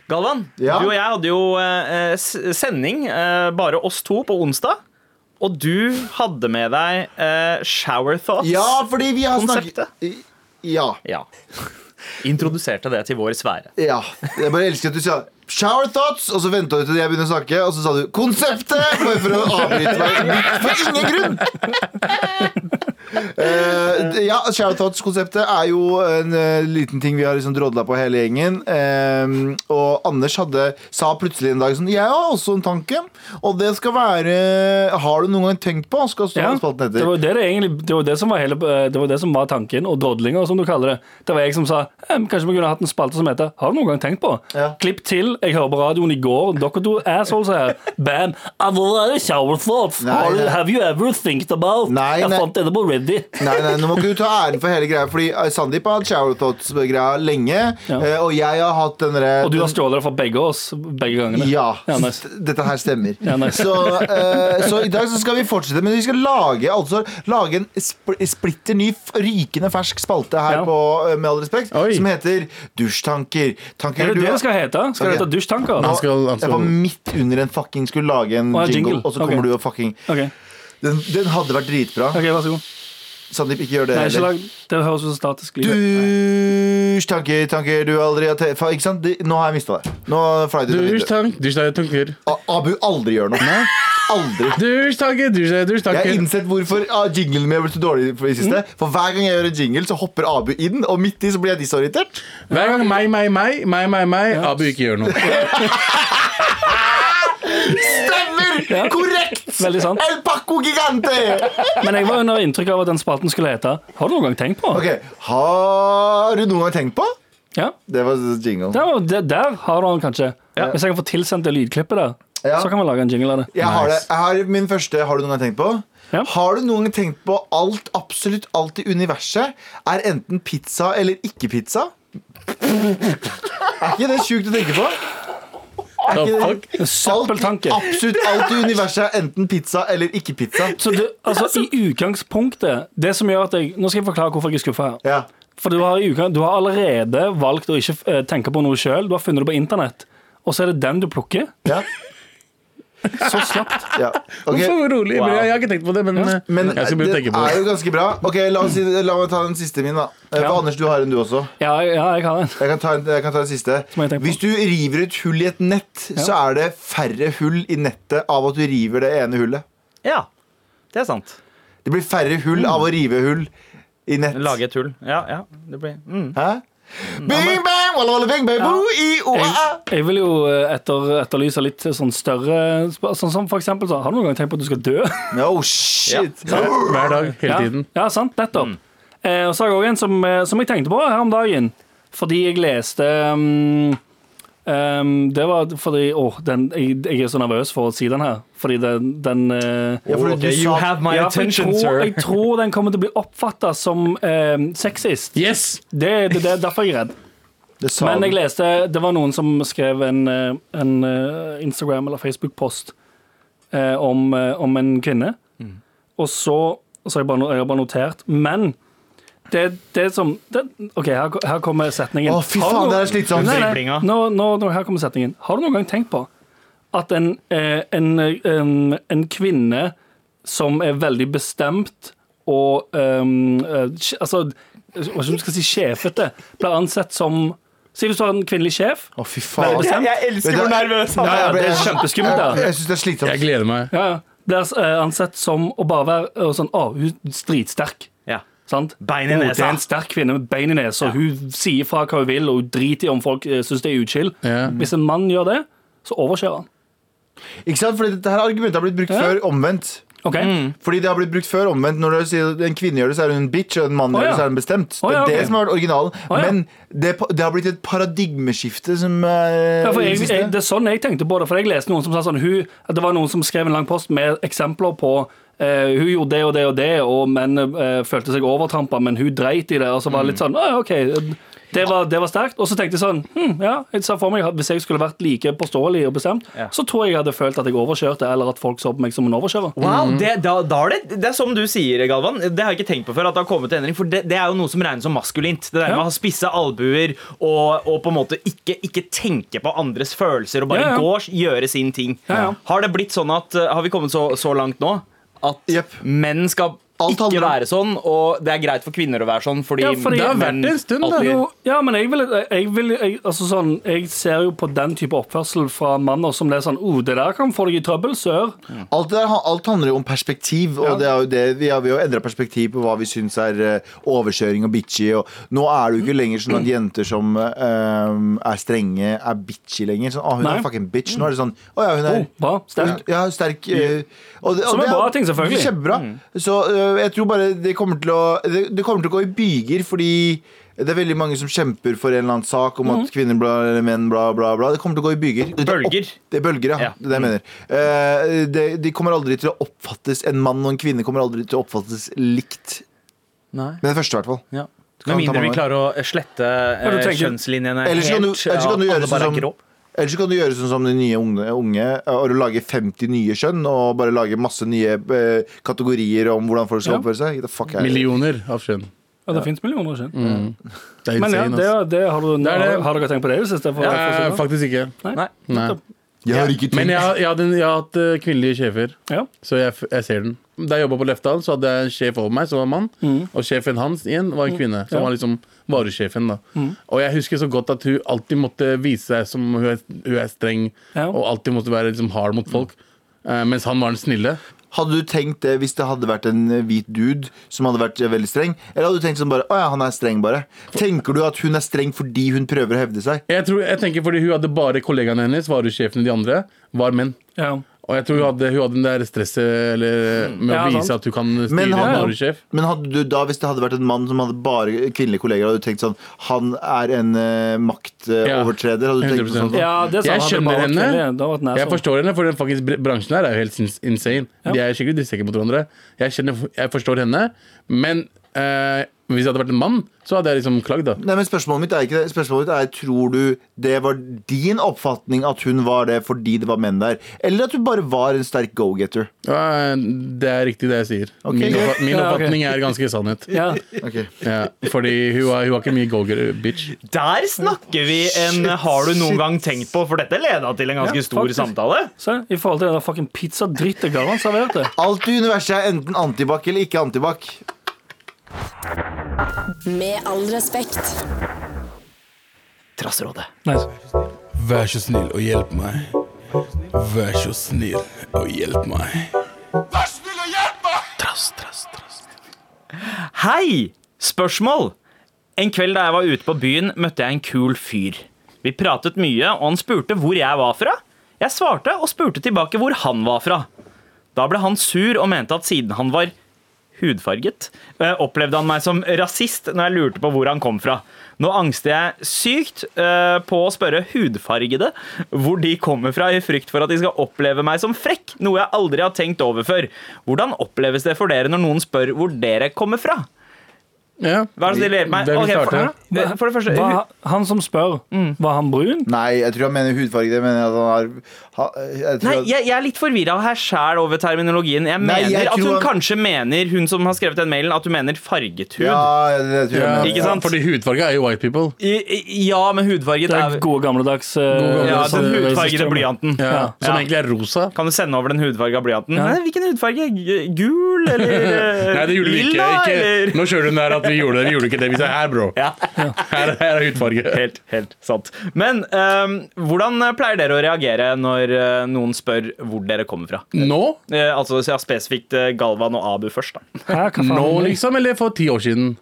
S4: Galvan,
S2: Ja.
S4: du og jeg hadde jo eh, s- sending, eh, bare oss to, på onsdag. Og du hadde med deg eh, Shower Thoughts.
S2: Ja, fordi vi har snakket
S4: Konseptet.
S2: Ja.
S4: Ja. Introduserte det til vår sfære.
S2: ja. Jeg bare elsker at du sa Shower thoughts, og så venta du til jeg begynte å snakke, og så sa du 'konseptet' bare for å avbryte meg for ingen grunn! Eh, d- ja, Shower thoughts-konseptet er jo en eh, liten ting vi har liksom drodla på hele gjengen. Eh, og Anders hadde, sa plutselig en dag sånn Jeg har også en tanke, og det skal være Har du noen gang tenkt på? Skal stå
S3: Ja,
S2: ja. spalten
S3: det
S2: etter.
S3: var jo det, det, egentlig, det, var jo det, som var hele, eh, det var det som var tanken, og drodlinga, som du kaller det. Det var jeg som sa «Eh, men kanskje vi kunne hatt en spalte som heter Har du noen gang tenkt på?
S2: Ja.
S3: Klipp til, jeg hører på radioen i går, dere to assholes er her. Bam! I've already shower thoughts.
S2: Nei,
S3: Har du-
S2: nei.
S3: have you ever think about?
S2: Nei,
S3: jeg
S2: nei.
S3: fant dette på Reddit.
S2: Nei, nei, nå må ikke du ta æren for hele greia, Fordi eh, Sandeep har hatt shower thoughts-greia lenge.
S3: Ja.
S2: eh, Og jeg har hatt den derre
S3: Og du har stjålet det fra begge oss begge gangene.
S2: ja,
S3: Ja, nice.
S2: s- dette her stemmer.
S3: Ja, nice.
S2: så, eh, så i dag så skal vi fortsette, men vi skal lage, altså, lage en spl splitter ny, f- rykende fersk spalte her
S3: Ja.
S2: på eh, Med all respekt,
S5: Oi.
S2: som heter Dusjtanker. Tanker
S3: Er det
S2: du
S3: det det
S2: har-
S3: skal hete? Skal det hete
S2: Ok.
S3: dusjtanker?
S5: Han skal- han skal-
S2: Jeg var midt under en fucking skulle lage en
S3: Å, ja,
S2: jingle,
S3: jingle.
S2: og så kommer
S3: Ok.
S2: du og fucking
S3: Ok,
S2: Den, den hadde vært dritbra.
S3: ok, vær så god.
S2: Sandeep, ikke gjør det.
S3: Nei, ikke
S2: heller.
S3: lag, det høres ut som statisk liv.
S2: Dusj, tanker, tanker du aldri har te- fa- Ikke sant? De- Nå har jeg mista det. Nå fløy det ut av
S5: Dusj,
S2: vinduet.
S5: tank, dusj, tank, tanker.
S2: A- Abu aldri gjør noe. Aldri.
S5: Dusj, tanker, dusj, tank, dusj,
S2: Jeg har
S5: tanker.
S2: innsett hvorfor ah, jinglen min har blitt så dårlig for i siste.
S3: Mm.
S2: For hver gang jeg gjør en jingle, så hopper Abu i den, og midt i så blir jeg disorientert.
S5: Hver gang meg, meg, meg, meg, meg, meg, Abu ikke gjør noe.
S2: Stemmer! Korrekt!
S3: Veldig sant.
S2: El Paco Gigante!
S3: Men jeg var under inntrykk av at den spalten skulle hete Har du noen gang tenkt på?
S2: Ok, Har du noen gang tenkt på?
S3: Ja.
S2: Det var jingle.
S3: Der, var- der, der har du den kanskje. Hvis jeg kan få tilsendt det lydklippet der,
S2: Ja.
S3: så kan vi lage en jingle av det.
S2: Jeg har det. Jeg har min første Har du noen gang tenkt på?
S3: Ja.
S2: Har du noen gang tenkt på alt, absolutt alt i universet er enten pizza eller ikke pizza? Er ikke det sjukt å tenke på? Er
S5: The
S2: ikke
S5: fuck?
S2: det? Alt,
S3: Søppeltanke.
S2: absolutt alt i universet er enten pizza eller ikke pizza.
S3: Så det, altså, I utgangspunktet Det som gjør at jeg Nå skal jeg forklare hvorfor jeg er skuffa her.
S2: Ja.
S3: For du har, i utgang- du har allerede valgt å ikke eh, tenke på noe sjøl. Du har funnet det på internett. Og så er det den du plukker.
S2: ja.
S3: Så slapt.
S2: ja. Ok.
S5: Hvorfor rolig? Men Jeg jeg har ikke tenkt på det, men, eh,
S2: Men
S5: jeg skal
S2: det
S5: begynne å tenke på
S2: er
S5: det.
S2: jo ganske bra. Ok, La, oss, si- la meg ta den siste min, da. Eh, For
S3: Ja.
S2: Anders, du har en, du også.
S3: Ja, ja, jeg har den.
S2: Jeg kan ta, en- jeg kan ta det siste.
S3: Som jeg tenker på.
S2: Hvis du river et hull i et nett, så er det færre hull i nettet av at du river det ene hullet.
S4: Ja, det er sant.
S3: Mm.
S2: Det blir færre hull av å rive hull i nett.
S4: Lage tull. Ja, ja. Det blir mm.
S2: Hæ? Bing, bang, walla, walla, bing, bang, boo, i, o, a, a.
S3: Jeg, jeg vil jo eh, etter, etterlyse litt sånn større sp- Sånn som for eksempel så Har du noen gang tenkt på at du skal dø?
S2: No shit.
S5: Hver dag, hele
S3: Ja,
S5: tiden.
S3: ja sant. Nettopp. Eh, og så har jeg òg en som, eh, som jeg tenkte på her om dagen, fordi jeg leste um, um, Det var fordi Å, den, jeg, jeg er så nervøs for å si den her, fordi den, den eh,
S2: Ja,
S5: Oh,
S2: for du
S4: Ok, you
S2: sa-
S4: have my
S3: ja, for jeg,
S4: attention,
S3: tror,
S4: sir.
S3: jeg tror den kommer til å bli oppfatta som eh, sexist.
S5: Yes!
S3: Det, det, det er derfor jeg er redd.
S2: Det sa
S3: Men
S2: du.
S3: jeg leste, det var noen som skrev en, eh, en eh, Instagram- eller Facebook-post eh, om, eh, om en kvinne.
S2: Mm.
S3: Og så, så har jeg, bare, no- jeg har bare notert, men det, det som det, OK, her, ko- her kommer setningen.
S2: Å, fy
S3: Har du
S2: faen,
S3: noen-
S2: det er slitsomt.
S3: Nei, nei,
S4: Driblinga.
S3: Nå, nå, nå, her kommer setningen. Har du noen gang tenkt på at en, eh, en, eh, en, en kvinne som er veldig bestemt og ehm, eh, sj- Altså, hva skal man si, sjefete, blir ansett som Si hvis du har en kvinnelig sjef.
S2: Å, fy faen.
S3: Veldig bestemt.
S2: Vet
S4: elsker
S2: du- Nei, jeg ble-
S3: Det er kjempeskummelt,
S2: Jeg,
S3: det.
S2: jeg syns det er
S5: Jeg
S2: slitsomt.
S5: gleder meg.
S3: Ja, ja. Blir eh, ansett som å bare være eh, sånn Å, hun er dritsterk.
S4: Ja.
S3: Sant?
S4: Bein
S3: Å,
S4: i
S3: Det
S4: nesa.
S3: er en sterk kvinne med bein i nesa. Hun sier fra hva hun vil, og hun driter i om folk eh, syns det er utskill.
S5: Ja.
S3: Hvis en mann gjør det, så overkjører han.
S2: Ikke sant? Fordi dette her argumentet har blitt brukt
S3: Ja.
S2: før omvendt.
S3: Ok?
S2: Fordi det har blitt brukt før omvendt. Når du sier en kvinne gjør det, så er hun en bitch, og en mann
S3: Å,
S2: gjør
S3: ja.
S2: det, så er hun bestemt.
S3: Å,
S2: Det
S3: ja,
S2: er det
S3: ok.
S2: som har vært originalen.
S3: Å, ja.
S2: Men det, det har blitt et paradigmeskifte som eh,
S3: Ja, for jeg,
S2: det siste.
S3: jeg, det er sånn jeg tenkte på det, for jeg leste noen som sa sånn hun, at Det var noen som skrev en lang post med eksempler på eh, hun gjorde det og det og det, og menn eh, følte seg overtrampa, men hun dreit i det. Og så var det litt sånn, «Å, ja, ok, det var, det var sterkt. Og så tenkte jeg sånn hm, ja, jeg sa for meg at Hvis jeg skulle vært like påståelig og bestemt,
S4: Ja.
S3: så tror jeg jeg hadde følt at jeg overkjørte, eller at folk så på meg som en overkjører.
S4: Wow,
S2: Mm.
S4: det, da, da er det, det er som du sier, Galvan. Det har jeg ikke tenkt på før. at Det har kommet en endring, for det, det er jo noe som regnes som maskulint. Det der med
S3: Ja.
S4: å ha spisse albuer og, og på en måte ikke, ikke tenke på andres følelser og bare
S3: Ja, ja.
S4: gå og gjøre sin ting.
S3: Ja, ja.
S4: Har det blitt sånn at, uh, har vi kommet så, så langt nå at
S2: Jepp.
S4: menn skal
S2: Alt handler
S4: ikke
S2: om-
S4: være sånn, og det er greit for kvinner å være sånn fordi,
S3: Ja, fordi- Det har vært
S4: menn
S5: det en stund, da.
S4: alltid-
S3: Jo, ja, men jeg vil, jeg, vil jeg, altså sånn, jeg ser jo på den type oppførsel fra manner som det er sånn oh, det der kan få deg i trøbbel, sør.
S2: Alt, det, der- alt handler jo om perspektiv, og det er jo det, vi har vi har jo endra perspektiv på hva vi syns er eh, overkjøring og bitchy. Og nå er det jo ikke lenger sånn at jenter som eh, er strenge, er bitchy lenger. Sånn, ah, hun
S3: Nei.
S2: er fucking bitch. Nå er det sånn Å ja, hun er
S3: Oh, bra, sterkt.
S2: Ja, sterk. eh, og det- og
S3: Som er
S2: det
S3: bra ting, selvfølgelig. Mm.
S2: Kjempebra. Så eh, jeg tror bare det kommer til å det, det kommer til å gå i byger, fordi det er veldig mange som kjemper for en eller annen sak om
S3: Mhm.
S2: at kvinner bla, eller menn bla, bla, bla. Det kommer til å gå i byger. Det-
S4: Bølger.
S2: Det er bølger, ja.
S4: Ja.
S2: Det er det jeg mener. Eh, det, de kommer aldri til å oppfattes En mann og en kvinne kommer aldri til å oppfattes likt.
S4: Nei.
S2: Med det første, i hvert fall.
S4: Ja.
S2: Kan
S4: Med
S2: ta
S4: mindre vi
S2: mange.
S4: klarer å slette eh,
S3: du tenker-
S4: kjønnslinjene
S2: Ellers så kan du-
S4: helt.
S2: ellers så kan du
S4: ja,
S2: gjøre
S4: alle bare
S2: sånn
S4: er
S2: som-
S4: grå.
S2: Eller så kan du gjøre sånn som de nye unge, unge eh, og lage 50 nye kjønn og bare lage masse nye eh, kategorier om hvordan folk skal
S3: Ja.
S2: oppføre seg. The fuck er det?
S5: Millioner av kjønn.
S3: Ja, det fins millioner av kjønn.
S5: Det er
S3: Men ja,
S5: insane,
S3: det,
S5: ass.
S3: det har, du,
S5: er det.
S3: Har, har dere tenkt på det i det siste? For,
S5: Eh,
S3: for å si det?
S5: Faktisk ikke.
S4: Nei.
S5: Nei.
S3: nettopp.
S2: Jeg har ikke
S5: Men jeg, har- jeg, hadde en- jeg har hatt eh, kvinnelige sjefer,
S3: sånn? Ja.
S5: så jeg, f- jeg ser den. Da jeg jobba på Lefdal, så hadde jeg en sjef over meg som var mann. Og sjefen hans igjen var en kvinne,
S3: Mm. Ja.
S5: som
S3: Mm.
S5: var liksom varesjefen. da Og jeg husker så godt at hun alltid måtte vise seg som hun er, hun er streng,
S3: Ja.
S5: og alltid måtte være liksom hard mot folk. Eh, mens han var den snille.
S2: Hadde du tenkt det hvis det hadde vært en eh, hvit dude som hadde vært eh, veldig streng? Eller hadde du tenkt sånn bare Å ja, han er streng, bare. Tenker du at hun er streng fordi hun prøver å hevde seg?
S5: Jeg, tror, jeg tenker fordi hun hadde bare kollegaene hennes, varesjefene de andre, var menn.
S3: Ja.
S5: Og jeg tror hun hadde, hun hadde den der stresset eller, med
S3: Ja,
S5: å vise
S3: sant.
S5: at hun kan styre
S2: Men
S5: en
S2: han-
S5: varesjef.
S2: Men hadde du da, hvis det hadde vært en mann som hadde bare kvinnelige kolleger, hadde du tenkt sånn Han er en eh, maktovertreder? Hadde du tenkt sånn?
S5: 100%.
S3: ja, det sa han,
S5: Jeg
S3: det
S5: skjønner
S3: bare var
S5: henne.
S3: kjedelig. Det har vært nær
S5: Jeg
S3: sånn.
S5: forstår henne, for den faktisk br- bransjen her er jo helt sin- insane. De er skikkelig drittsekker mot hverandre. Jeg, kjenner, jeg forstår henne, men eh, hvis jeg hadde vært en mann, så hadde jeg liksom klagd, da.
S2: Nei, men Spørsmålet mitt er ikke det. Spørsmålet mitt er, Tror du det var din oppfatning at hun var det fordi det var menn der, eller at hun bare var en sterk go-getter?
S5: Ja, det er riktig, det jeg sier. min
S2: greit.
S5: oppfa- min
S3: Ja, ok.
S5: oppfatning er ganske sannhet.
S3: Ja.
S2: Ok.
S5: Ja, fordi hun har, hun har ikke mye goger, bitch.
S4: Der snakker vi en
S2: Shit,
S4: Har du noen
S2: shit.
S4: gang tenkt på? For dette leda til en ganske
S3: Ja,
S4: stor
S3: faktisk.
S4: samtale.
S3: Se, I forhold til den der fucking pizzadrittet Garvan serverte.
S2: Alt i universet er enten antibac eller ikke antibac.
S1: Med all respekt.
S4: Trassrådet.
S3: Nice.
S5: Vær så snill og hjelp meg. Vær så snill og hjelp meg.
S4: Hei! Spørsmål. En kveld da jeg var ute på byen, møtte jeg en kul fyr. Vi pratet mye, og han spurte hvor jeg var fra. Jeg svarte og spurte tilbake hvor han var fra. Da ble han sur og mente at siden han var hudfarget, eh, opplevde han meg som rasist når jeg lurte på hvor han kom fra. Nå angster jeg sykt eh, på å spørre hudfargede hvor de kommer fra, i frykt for at de skal oppleve meg som frekk, noe jeg aldri har tenkt over før. Hvordan oppleves det for dere når noen spør hvor dere kommer fra?
S5: Ja.
S4: Vær så snill, hjelp meg.
S5: Hvem
S4: Ok,
S5: vil starte?
S4: for, for det første
S3: Var, han som spør, var han brun?
S2: Nei, jeg tror han mener hudfarge. Det mener jeg at han har ha, jeg tror
S4: Nei,
S2: at-
S4: jeg, jeg er litt forvirra her sjæl over terminologien. Jeg
S2: Nei,
S4: mener
S2: jeg
S4: at hun
S2: tror han-
S4: kanskje mener, hun som har skrevet den mailen, at hun mener farget hud.
S2: ja, det, det tror jeg
S5: Ja,
S2: mener.
S4: Ikke sant?
S5: Fordi hudfarge er jo white people.
S4: I, i, ja men hudfarget
S3: Det
S4: er
S3: er gode gamledags eh,
S5: gamledags-
S4: Ja, den
S3: sånn-
S4: hudfargede
S3: system.
S4: blyanten.
S5: Ja.
S3: Ja.
S5: Som
S4: Ja.
S5: egentlig er rosa.
S4: Kan du sende over den hudfarga blyanten? Nei, hvilken hudfarge? G- Gul, eller eh,
S5: Nei, det gjorde vi ikke.
S4: lilla, eller?
S5: ikke. Nå kjører hun der at vi gjorde det. Vi gjorde ikke det. Vi sa her, bro.
S4: Ja.
S5: Her, her er hudfarge.
S4: Helt, helt sant. Men ehm, hvordan pleier dere å reagere når eh, noen spør hvor dere kommer fra?
S5: Nå?
S4: Eh, altså ja, spesifikt eh, Galvan og Abu først, da.
S3: Hæ, hva faen?
S5: Nå, liksom? Eller for ti år siden?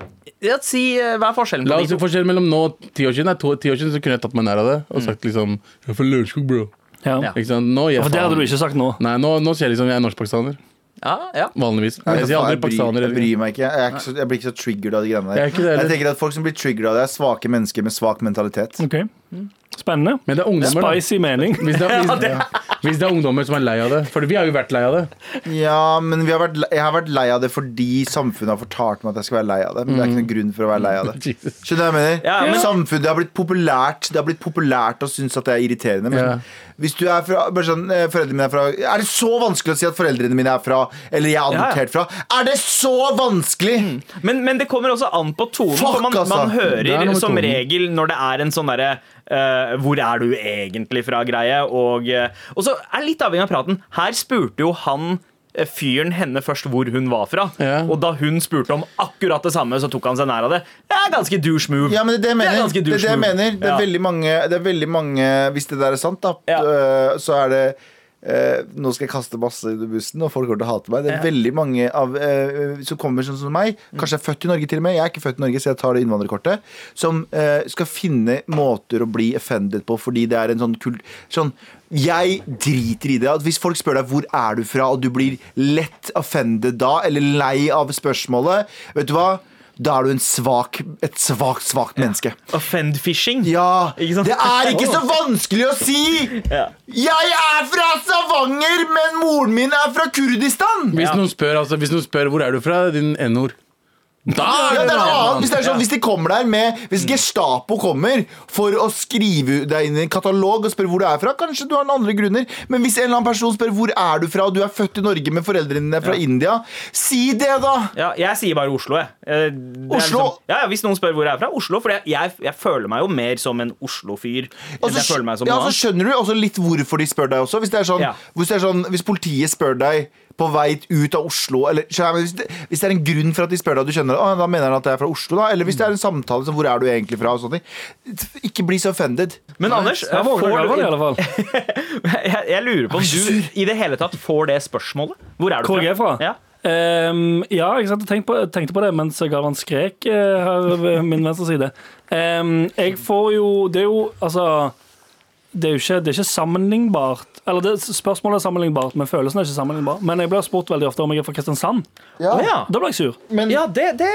S4: Ja, si, eh, hva er forskjellen
S5: La
S4: på
S5: oss
S4: de
S5: si
S4: to?
S5: forskjellen mellom nå og ti år siden. Nei, to, ti år siden så kunne jeg tatt meg nær av det og sagt liksom Jeg er fra Lørenskog, bro.
S3: Ja.
S4: Ja.
S5: Ikke sant? Nå, gir jeg
S3: For det hadde
S5: faen.
S3: du ikke sagt nå.
S5: Nei, nå, nå sier jeg liksom jeg er norsk-pakistaner.
S4: Ja, ja.
S5: Vanligvis.
S2: Nei,
S5: Jeg sier
S2: faen,
S5: aldri
S2: jeg, bryr,
S5: pakistaner.
S2: jeg
S5: eller-
S2: bryr meg ikke. Jeg, er ikke så, jeg blir ikke så triggered av de greiene der.
S5: Jeg er ikke det heller.
S2: tenker at Folk som blir triggered av det, er svake mennesker med svak mentalitet.
S3: Ok, Spennende.
S5: Men det er ungdommer, da.
S3: Spicy mening.
S5: Hvis det, er, hvis, hvis det er ungdommer som er lei av det. For vi har jo vært lei av det.
S2: Ja, men vi har vært, le- jeg har vært lei av det fordi samfunnet har fortalt meg at jeg skal være lei av det. Men det er ikke noen grunn for å være lei av det.
S5: Jesus.
S2: Skjønner du hva jeg mener?
S4: Ja, men-
S2: Samfunnet, det har blitt populært Det har blitt populært å synes at det er irriterende. Men
S5: Ja.
S2: hvis du er fra, bare sånn, eh, foreldrene mine er fra Er det så vanskelig å si at foreldrene mine er fra Eller jeg er
S4: Ja, Mm. ja.
S2: adoptert fra? Er det så vanskelig?!
S4: Men, men det kommer også an på tonen.
S2: Fuck,
S4: for man,
S2: altså.
S4: man
S5: Det er noe
S4: hører
S5: med
S4: som
S5: tonen.
S4: regel når det er en sånn derre eh, Hvor er du egentlig fra-greie? Og, eh, og så er det litt avhengig av praten. Her spurte jo han eh, fyren henne først hvor hun var fra.
S5: Ja.
S4: Og da hun spurte om akkurat det samme, så tok han seg nær av det. Det er ganske douche move.
S2: Ja, men det er det jeg
S4: Det
S2: mener. Det
S4: er ganske
S2: er det, jeg
S4: douche move.
S2: mener. Det, er
S4: Ja.
S2: veldig mange, det er veldig mange Hvis det der er sant, da,
S4: Ja.
S2: øh, så er det øh, nå skal jeg kaste masse under bussen, og folk kommer til å hate meg. Det er veldig mange av, øh, som kommer sånn som meg, kanskje er født i Norge til og med, jeg er ikke født i Norge, så jeg tar det innvandrerkortet, som øh, skal finne måter å bli offended på, fordi det er en sånn kult sånn, Jeg driter i det. At hvis folk spør deg hvor er du fra, og du blir lett offended da, eller lei av spørsmålet, vet du hva? Da er du en svak, et svakt, svakt menneske.
S4: Offend-fishing.
S2: Ja,
S4: Ikke sant?
S2: det er ikke så vanskelig å si!
S4: Ja.
S2: Jeg er fra Stavanger, men moren min er fra Kurdistan!
S5: Hvis,
S4: Ja.
S5: noen spør, altså, hvis noen spør hvor er du fra, din n-ord Da
S2: Ja, det er noe annet Hvis, det er sånn,
S4: Ja. Mm.
S2: hvis de kommer der med Hvis Gestapo kommer for å skrive deg inn i en katalog og spørre hvor du er fra, kanskje du har noen andre grunner, men hvis en eller annen person spør hvor er du fra, og du er født i Norge med foreldrene dine er fra India, si det, da!
S4: Ja, jeg sier bare Oslo, jeg. Eh, det er
S2: Oslo?
S4: Liksom, ja, ja, Hvis noen spør hvor jeg er fra, Oslo. For jeg, jeg, jeg føler meg jo mer som en Oslo-fyr
S2: Og
S4: enn jeg føler meg som
S2: ja,
S4: noe
S2: så
S4: annet.
S2: skjønner du også litt hvorfor de spør deg også. Hvis, det er sånn,
S4: Ja.
S2: hvis, det er sånn, hvis politiet spør deg på vei ut av Oslo eller, skjønner jeg, hvis, det, hvis det er en grunn for at de spør deg, og du skjønner «Å, da mener han at jeg er fra Oslo, da. Eller hvis det er en samtale som hvor er du egentlig fra, og sånne ting. Ikke bli så offended.
S4: Men Anders,
S3: Jeg
S4: får
S3: våkner av det, i
S4: du,
S3: alle fall.
S4: jeg, jeg lurer på om du i det hele tatt får det spørsmålet. Hvor er du
S3: Hvor jeg er fra?
S4: Ja.
S3: Ehm, ja, ikke sant? Jeg tenkte på, jeg tenkte på det mens Galvan skrek eh, her ved min venstre side. Ehm, jeg får jo Det er jo altså det er jo ikke, det er ikke sammenlignbart. Eller det, spørsmålet er sammenlignbart, men følelsen er ikke sammenlignbar. Men jeg blir spurt veldig ofte om jeg er fra Kristiansand.
S2: Ja.
S4: Å ja.
S3: Da blir jeg sur.
S2: Men
S4: ja det, det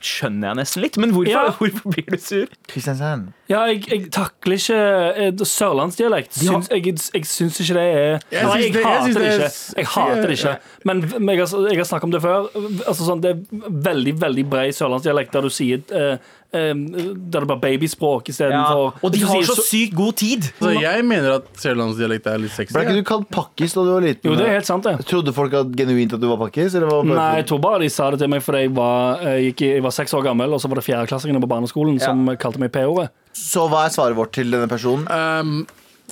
S4: skjønner jeg nesten litt. Men hvorfor,
S3: Ja.
S4: hvorfor blir du sur?
S2: Kristiansand
S3: Ja, jeg, jeg takler ikke eh, sørlandsdialekt. Syns, jeg, jeg syns ikke det er
S5: Jeg
S3: Nei,
S5: syns
S3: jeg
S5: det- jeg
S3: hater
S5: syns
S3: det
S5: det er
S3: ikke.
S5: s-
S3: Jeg hater det ikke. Men v- men jeg har, jeg har snakket om det før. Altså, sånn, det er veldig veldig bred sørlandsdialekt der du sier eh, eh, Der det bare babyspråk
S4: Ja.
S3: istedenfor
S4: Og de
S3: Du
S4: har
S3: sier
S4: så
S3: så-
S4: sykt god tid!
S5: Altså, jeg mener at sørlandsdialekt er litt sexy.
S2: Ble ikke
S5: ja.
S2: du kalt pakkis da du var liten?
S3: Jo, det er helt sant, det.
S2: Trodde folk at genuint at du var pakkis? Eller var det
S3: Nei,
S2: bare-
S3: jeg tror bare de sa det til meg fordi jeg var, jeg gikk, i- jeg var seks år gammel, og så var det fjerdeklassingene på barneskolen som kalte meg P-ordet.
S2: Så hva er svaret vårt til denne personen?
S5: Um,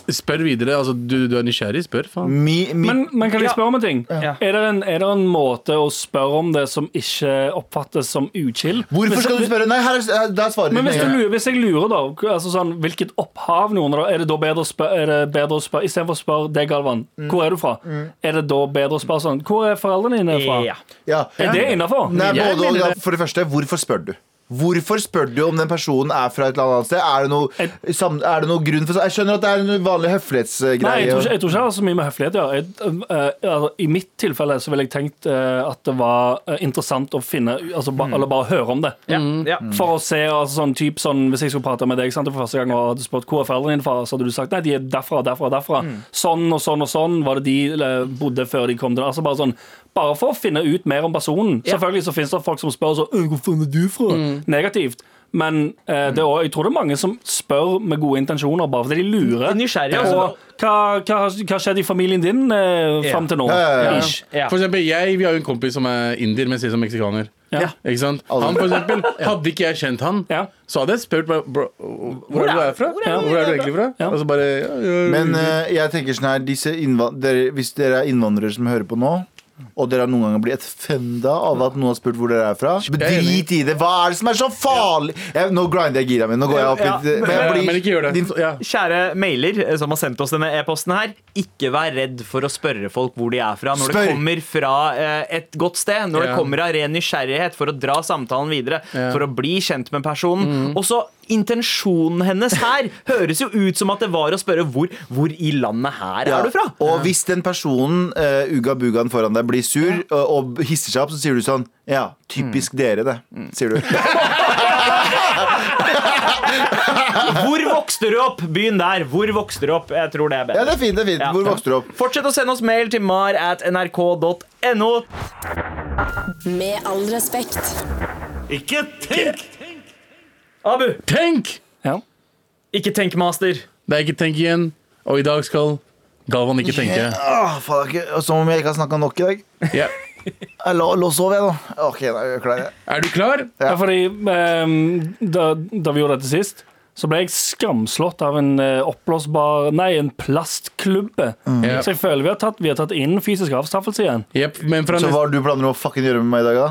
S5: Spør videre. Altså, du, du er nysgjerrig, spør. Faen.
S2: Mi, mi,
S3: Men, men kan jeg
S4: Ja.
S3: spørre om en ting?
S4: Ja.
S3: Er, det en, er det en måte å spørre om det som ikke oppfattes som uchill?
S2: hvorfor skal du spørre? Nei, her er, der svarer
S3: Men hvis, du
S2: med en gang.
S3: lurer, hvis jeg lurer, da, altså sånn, hvilket opphav noen har, er det da bedre å spørre, er det bedre å spørre Istedenfor å spørre deg, Galvan,
S2: Mm.
S3: hvor er du fra? Er det da bedre å spørre sånn Hvor er foreldrene dine fra?
S4: Ja.
S2: Ja.
S3: Er det innafor?
S2: Nei,
S5: Jeg
S2: både, og,
S5: mener
S2: ja, for det første, hvorfor spør du? Hvorfor spør du om den personen er fra et eller annet sted? Er det noe, sam, er det noe grunn for Jeg skjønner at det er en vanlig høflighetsgreie.
S3: Nei, jeg tror, ikke, jeg tror ikke det har så mye med høflighet å gjøre. Jeg- eh, altså, I mitt tilfelle så ville jeg tenkt eh, at det var eh, interessant å finne altså,
S2: Mm.
S3: ba, Eller bare høre om det.
S4: Ja. Mm. Ja.
S3: For å se altså, sånn, typ, sånn, Hvis jeg skulle prate med deg sant, for første gang og hadde spurt hvor er foreldrene dine fra, så hadde du sagt nei, de er derfra og derfra. og derfra
S4: Mm.
S3: Sånn og sånn og sånn var det de eller, bodde før de kom til altså, bare, sånn, bare for å finne ut mer om personen. Selvfølgelig så finnes det folk som spør så, «Øh, hvor faen er du fra?
S4: Mm.
S3: Negativt. Men eh, det er også, jeg tror det er mange som spør med gode intensjoner, bare fordi de lurer.
S4: Nysgjerrig,
S3: på
S4: altså.
S3: hva, hva, hva skjedde i familien din eh, fram til nå?
S2: Ja, ja, ja.
S3: Ish.
S4: Ja.
S5: For eksempel, jeg, vi har jo en kompis som er indier, men ser ut som meksikaner.
S3: Ja.
S5: Ikke sant? Han, for eksempel, hadde ikke jeg kjent han,
S3: Ja.
S5: så hadde jeg spurt bro, bro, hvor er du er fra? Ja, hvor er du egentlig fra?
S3: Ja.
S5: Og så bare ja, ja,
S2: Men eh, jeg tenker sånn her disse innva- dere, Hvis dere er innvandrere som hører på nå og dere har noen ganger blitt fenda av at noen har spurt hvor dere er fra.
S5: er enig.
S2: Drit i det! Hva er det som er så farlig?! Jeg, nå grinder jeg gira mi. Nå går jeg opp i
S4: Ja, men-
S2: jeg
S5: ja,
S2: blir-
S5: Men ikke gjør det.
S2: Din,
S5: ja.
S4: Kjære mailer eh, som har sendt oss denne e-posten her, ikke vær redd for å spørre folk hvor de er fra når
S2: Spør!
S4: det kommer fra eh, et godt sted. Når
S5: Ja.
S4: det kommer av ren nysgjerrighet for å dra samtalen videre,
S5: Ja.
S4: for å bli kjent med
S2: Mm.
S4: personen. Og så intensjonen hennes her høres jo ut som at det var å spørre hvor, hvor i landet her
S2: Ja,
S4: er du fra?
S2: Og hvis den personen uh, uga bugaen foran deg blir sur og, og hisser seg opp, så sier du sånn Ja, typisk dere, det. Sier du.
S4: Hvor vokste du opp? Begynn der. Hvor vokste du opp? Jeg tror det
S2: Ja,
S4: er bedre.
S2: det er fint. det er fint
S4: Ja.
S2: Hvor vokste du opp?
S4: Fortsett å sende oss mail til mar at nrk.no.
S1: Med all respekt.
S4: Ikke tenk! Abu,
S5: Tenk!
S3: Ja.
S4: ikke tenk master.
S5: Det er ikke tenk igjen. Og i dag skal Galvan ikke tenke.
S2: Åh, faen, det er ikke- Som om jeg ikke har snakka nok i dag.
S5: Ja.
S2: Jeg la, la sove, jeg, nå. Ok, nei, jeg klarer det.
S5: Er du klar?
S3: Ja, fordi ehm, da, da vi gjorde dette sist, så ble jeg skamslått av en eh, oppblåsbar Nei, en plastklubbe.
S2: Mm.
S5: Ja.
S3: Så jeg føler vi har tatt, vi har tatt inn fysisk avstraffelse igjen.
S5: Jepp, men fra
S2: Så
S5: neste
S2: hva har du planer om å fucking gjøre med meg i dag, da?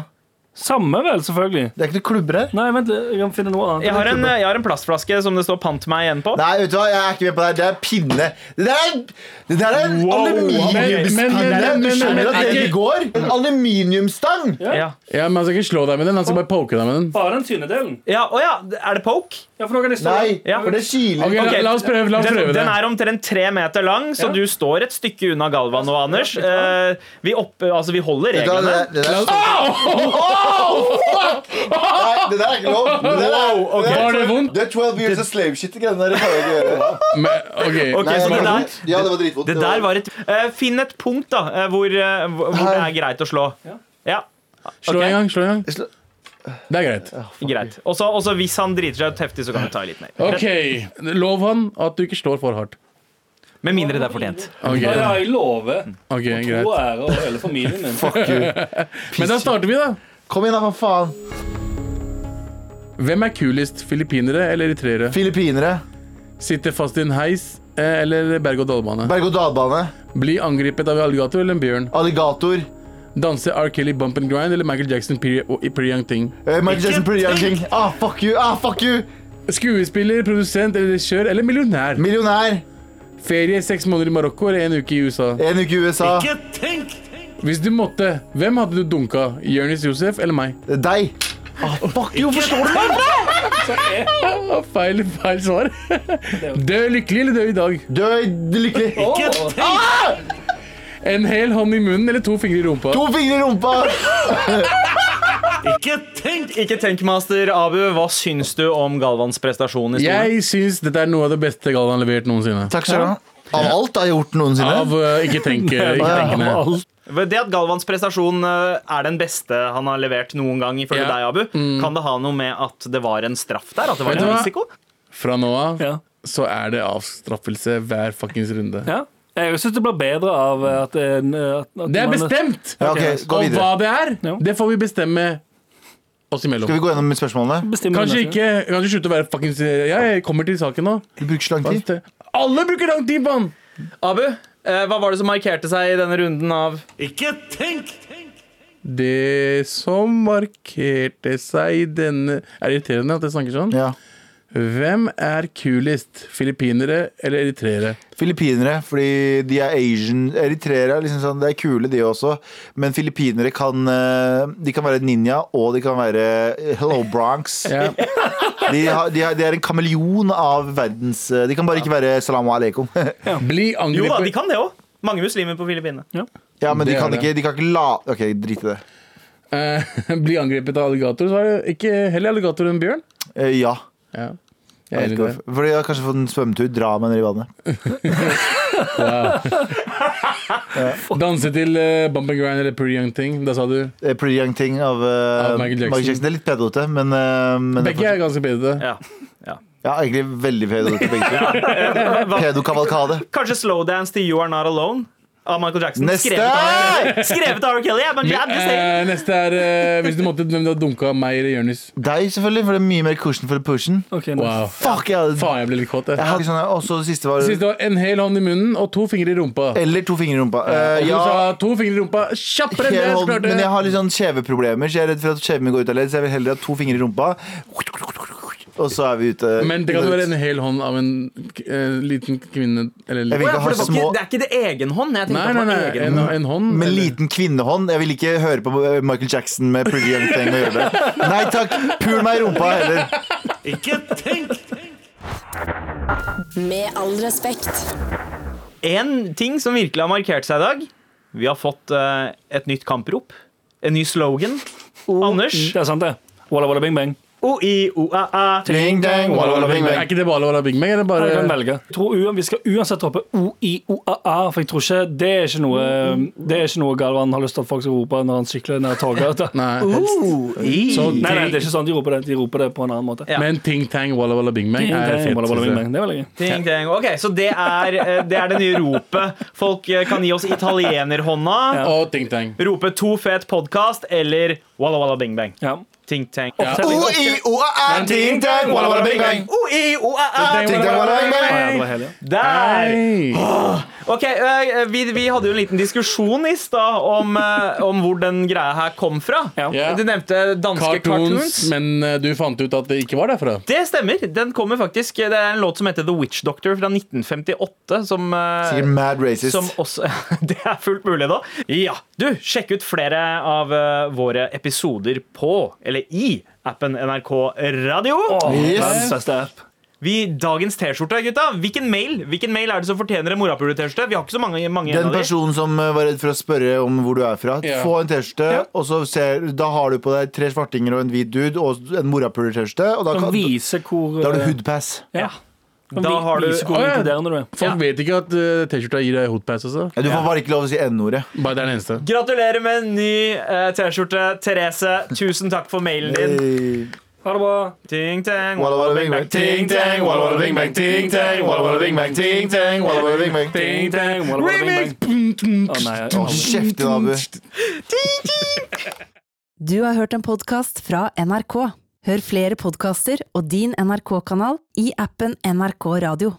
S3: Samme vel, selvfølgelig.
S2: Det er ikke noen klubber her.
S3: Nei, vent, litt, jeg kan finne noe annet.
S4: Jeg har, en, jeg har en plastflaske som det står 'pant meg' igjen på.
S2: Nei, vet du hva, jeg er ikke med på det her. Det er pinne. Det der er, det der er en
S5: Wow. Men- men- men-
S2: aluminiumspinne.
S5: men-
S2: Du
S5: men-
S2: skjønner at
S5: men-
S2: det ikke går? En aluminiumsstang!
S4: Ja.
S5: Ja, men Han skal ikke slå deg med den, han skal bare poke deg med den.
S3: Bare den tynne delen.
S4: Ja, å ja, er det poke?
S3: Ja, for nå kan jeg stå
S2: Nei,
S4: Ja.
S2: for det kiler.
S5: Ok, la, la oss prøve, la oss
S4: Den,
S5: prøve det.
S4: den er omtrent tre meter lang, så
S3: Ja.
S4: du står et stykke unna Galvan og Anders. Eh, vi, opp, altså, vi holder
S2: Vet du hva,
S4: reglene.
S2: det, det, der, Nei, det der er ikke lov. Det der er,
S5: Wow, ok.
S2: det der er-
S5: Var det vondt?
S2: Det er 12 years of slave-shit. Det greiene der det kan jeg ikke gjøre.
S5: Men, ok.
S4: Ok,
S2: Nei, var
S4: så det
S2: det
S4: der,
S2: vondt? Ja, det var dritvondt.
S4: det
S2: Det var-
S4: der var et eh, Finn et punkt da eh, hvor, eh, hvor hvor det er greit å slå. Ja,
S5: Slå
S4: Ok.
S5: en gang, slå en gang.
S2: slår-
S5: Det er greit.
S4: greit Og så og så hvis han driter seg ut heftig, så kan du ta litt mer.
S5: Ok, Lov han at du ikke slår for hardt.
S4: Med mindre det er fortjent.
S5: Ok,
S3: Ja, ja, jeg lover.
S5: ok,
S3: God
S5: greit
S3: ære og hele familien min.
S2: Mm. Fuck you.
S5: Men da starter vi, da.
S2: Kom igjen, da, for faen.
S5: Hvem er kulest, filippinere eller eritreere?
S2: Filippinere.
S5: Sitter fast i en heis eh, eller berg-og-dal-bane?
S2: Berg-og-dal-bane.
S5: Bli angrepet av en alligator eller en bjørn?
S2: Alligator.
S5: Danse R. Kelly Bump and Grind eller Michael Jackson Pretty- og- i Pretty Young Thing?
S2: Eh, Michael Jackson, Pretty Young King. Ah, fuck you. Ah, fuck you.
S5: Skuespiller, produsent eller regissør eller millionær?
S2: Millionær.
S5: Ferie seks måneder i Marokko eller en uke i USA?
S2: En uke i USA.
S5: Hvis du måtte, hvem hadde du dunka? Jonis Josef eller meg?
S2: Det er Deg. Ah, fuck you. Forstår du meg?
S5: Ah, Feil, feil svar. Dø lykkelig eller dø i dag?
S2: Dø i- lykkelig. Ah!
S5: En hel hånd i munnen eller to fingre i rumpa?
S2: To fingre i rumpa.
S4: Ikke tenk, ikke tenk, master Abu. Hva syns du om Galvans prestasjon i skolen?
S5: Jeg syns dette er noe av det beste Galvan har levert noensinne.
S2: Takk skal du ha. Av alt jeg har gjort
S5: Av
S2: noensinne.
S5: eh, ikke tenke, ikke tenkende.
S4: Det at Galvans prestasjon eh, er den beste han har levert noen gang, ifølge
S5: Ja.
S4: deg, Abu, kan det ha noe med at det var en straff der? At det var
S5: Vet du
S4: en
S5: hva?
S4: risiko?
S5: Fra nå av
S3: Ja.
S5: så er det avstraffelse hver fuckings runde.
S3: Ja. Jeg syns det blir bedre av eh, at, en, eh, at, at
S5: Det er
S3: man-
S5: bestemt!
S2: Ja, ok, Gå
S5: Og hva
S2: videre.
S5: det er,
S3: Ja.
S5: det får vi bestemme oss
S2: Skal vi
S5: imellom.
S2: gå gjennom spørsmålene?
S3: Bestemmer
S5: Kanskje
S3: neste gang.
S5: ikke Kan du slutte å være fuckings Jeg kommer til saken nå.
S2: Du bruker så lang tid.
S5: Fast det. Alle bruker lang tid på han!
S4: Abu, eh, hva var det som markerte seg i denne runden av
S6: Ikke tenk!
S5: Det som markerte seg i denne Er det irriterende at jeg snakker sånn?
S2: Ja.
S5: Hvem er kulest? Filippinere eller eritreere?
S2: Filippinere, fordi de er Asian Eritreere, er liksom sånn, det er kule de også. Men filippinere kan eh, De kan være ninja, og de kan være eh, Hello Bronx.
S5: Ja.
S2: De, har, de, har, de er en kameleon av verdens eh, De kan bare ikke være salamu aleikum.
S5: Bli
S4: Jo da, de
S5: angrepet
S4: kan det òg. Mange muslimer på Filippinene.
S2: ja, men de
S5: Det er
S2: kan,
S5: det.
S2: ikke, de kan ikke la OK, drit i det.
S5: Eh, Bli angrepet av alligator, så er det ikke heller alligator enn bjørn.
S2: Eh, ja.
S5: Ja.
S2: Jeg vet
S5: Jeg er enig i
S2: ikke
S5: det.
S2: hvorfor. Fordi jeg har kanskje fått en svømmetur. Dra meg ned i vannet.
S5: Danse til uh, Bump and Grind eller Pretty Young Thing. Da sa du
S2: Eh, Pretty Young Thing av, eh,
S5: Av Michael Jackson.
S2: Michael Jackson. Det er litt pedote, men, eh, men det er
S5: Begge er ganske bedre.
S4: Ja. Ja.
S2: fortsatt- Ja, egentlig veldig pedote, begge to. Pedokavalkade.
S4: Kanskje slowdance til You Are Not Alone av Michael Jackson.
S2: Neste!
S4: Skrevet av, skrevet av R. Kelly. Yeah, but I'm just saying.
S5: Eh, neste er eh, Hvis du måtte hvem du hadde dunka, meg eller Jonis.
S2: Deg, selvfølgelig, for det er mye mer cushion for pushen.
S3: Ok, nå.
S5: Wow.
S2: Fuck, jeg hadde
S5: Faen, jeg ble litt kåt.
S2: Jeg
S5: Jeg.
S2: hadde ikke sånn, og så det siste var
S5: Siste var en hel hånd i munnen og to fingre i rumpa.
S2: Eller to fingre i rumpa.
S5: Og
S2: Eh,
S5: du
S2: ja,
S5: sa to fingre i rumpa kjappere enn
S2: hele
S5: det jeg
S2: hånden, men jeg
S5: klarte.
S2: har litt sånn kjeveproblemer, så jeg er redd for at kjeven min går ut av ledd, så jeg vil heller ha to fingre i rumpa. Og så er vi ute.
S5: Men det kan jo være en hel hånd av en eh, liten kvinne eller
S2: Jeg vil
S4: Å
S5: liten.
S2: ikke
S4: ja, for
S2: ha
S4: det, var
S2: små
S4: ikke, det er ikke det egen hånd. Jeg
S5: Nei,
S4: tenkte
S5: nei,
S4: at det
S5: nei.
S4: var egen
S5: En,
S4: hånd.
S5: en hånd.
S2: Med
S5: eller-
S2: liten kvinnehånd. Jeg vil ikke høre på Michael Jackson med Pretty Young Thing og gjøre det. Nei takk, pul meg i rumpa heller.
S6: Ikke tenk!
S1: Med all respekt.
S4: En ting som virkelig har markert seg i dag, vi har fått eh, et nytt kamprop. En ny slogan. Anders.
S3: Det er sant, det. Walla, walla, bing, bang.
S4: O-i-o-a-a.
S2: Ding, dang, walla, walla, bing,
S5: Er
S2: bang.
S5: ikke det bare Walla Bing Bang? Eller
S3: Jeg kan
S5: bare
S3: velge. Eh, Jeg Tror u vi skal uansett droppe O-I-O-A-A, for jeg tror ikke det er ikke noe Det er ikke noe Galvan har lyst til at folk skal rope når han sykler ned toget.
S5: Nei.
S4: O-i.
S3: Nei, nei, det er ikke sånn de roper det. De roper det på en annen måte.
S4: Ja.
S5: Men Ting Tang Walla Walla Bing Bang
S3: Ting,
S5: er
S3: tang,
S5: fett.
S3: walla, walla,
S5: synes
S3: bing,
S5: jeg.
S3: bang. Det er veldig gøy.
S4: Ting, ting. Ok, Så det er, eh, det er det nye ropet. Folk eh, kan gi oss italienerhånda.
S5: Og Ting Tang.
S4: Rope to fet podkast eller walla walla bing bang.
S3: Ja.
S4: Ting, tang.
S2: O-i-o-a-a, ding, dang, walla, walla, bing, bang.
S4: O-i-o-a-a.
S2: Ding, dang, walla, bing,
S3: Ja,
S2: bang.
S3: det var hele, ja.
S4: Der!
S5: Hei.
S4: Ok, eh, vi, vi hadde jo en liten diskusjon i stad om, eh, om hvor den greia her kom fra.
S3: Ja.
S5: Ja.
S4: Du nevnte danske
S5: Cartoons,
S4: cartoons.
S5: men eh, du fant ut at det ikke var derfra.
S4: Det stemmer. Den kommer faktisk Det er en låt som heter The Witch Doctor fra 1958. Som, eh,
S2: Sikkert mad
S4: som
S2: racist.
S4: også Det er fullt mulig, da. Ja. Du, sjekk ut flere av eh, våre episoder på, eller i, appen NRK Radio.
S2: Yes.
S3: Verdens beste app.
S4: Vi, dagens T-skjorte, gutta. Hvilken mail Hvilken mail er det som fortjener en morapule-T-skjorte? Vi har ikke så mange, mange
S2: Den
S4: igjen av de.
S2: personen som eh, var redd for å spørre om hvor du er fra,
S5: Ja.
S2: få en T-skjorte, og så ser, da har du på deg tre svartinger og en hvit dude og en morapuler-T-skjorte, og da,
S3: Som
S2: kan,
S3: viser hvor eh,
S2: da har du hoodpass.
S3: Ja. Som
S4: Da
S3: vi-
S4: har du-
S3: viser hvor
S5: Å, ja.
S3: inkluderende du er.
S5: Folk vet ikke at eh, T-skjorta gir deg hotpass også.
S2: Ja, du får bare ikke lov å si N-ordet.
S5: Bare det er den eneste.
S4: Gratulerer med en ny eh, T-skjorte, Therese. Tusen takk for mailen din.
S2: Hey.
S3: Ha det bra.
S4: Ting, ting.
S2: Walla, walla, bing, bang. Ting, tang, walla, walla, bing, bang. Ting, tang, walla, walla, bing, bang. Ting, tang, walla, walla, bing, bang.
S3: Ting, tang, walla, walla, bing, bang. Å, nei, å,
S2: Hold Kjeft din, Abu.
S7: Du har hørt en podkast fra NRK. Hør flere podkaster og din NRK-kanal i appen NRK Radio.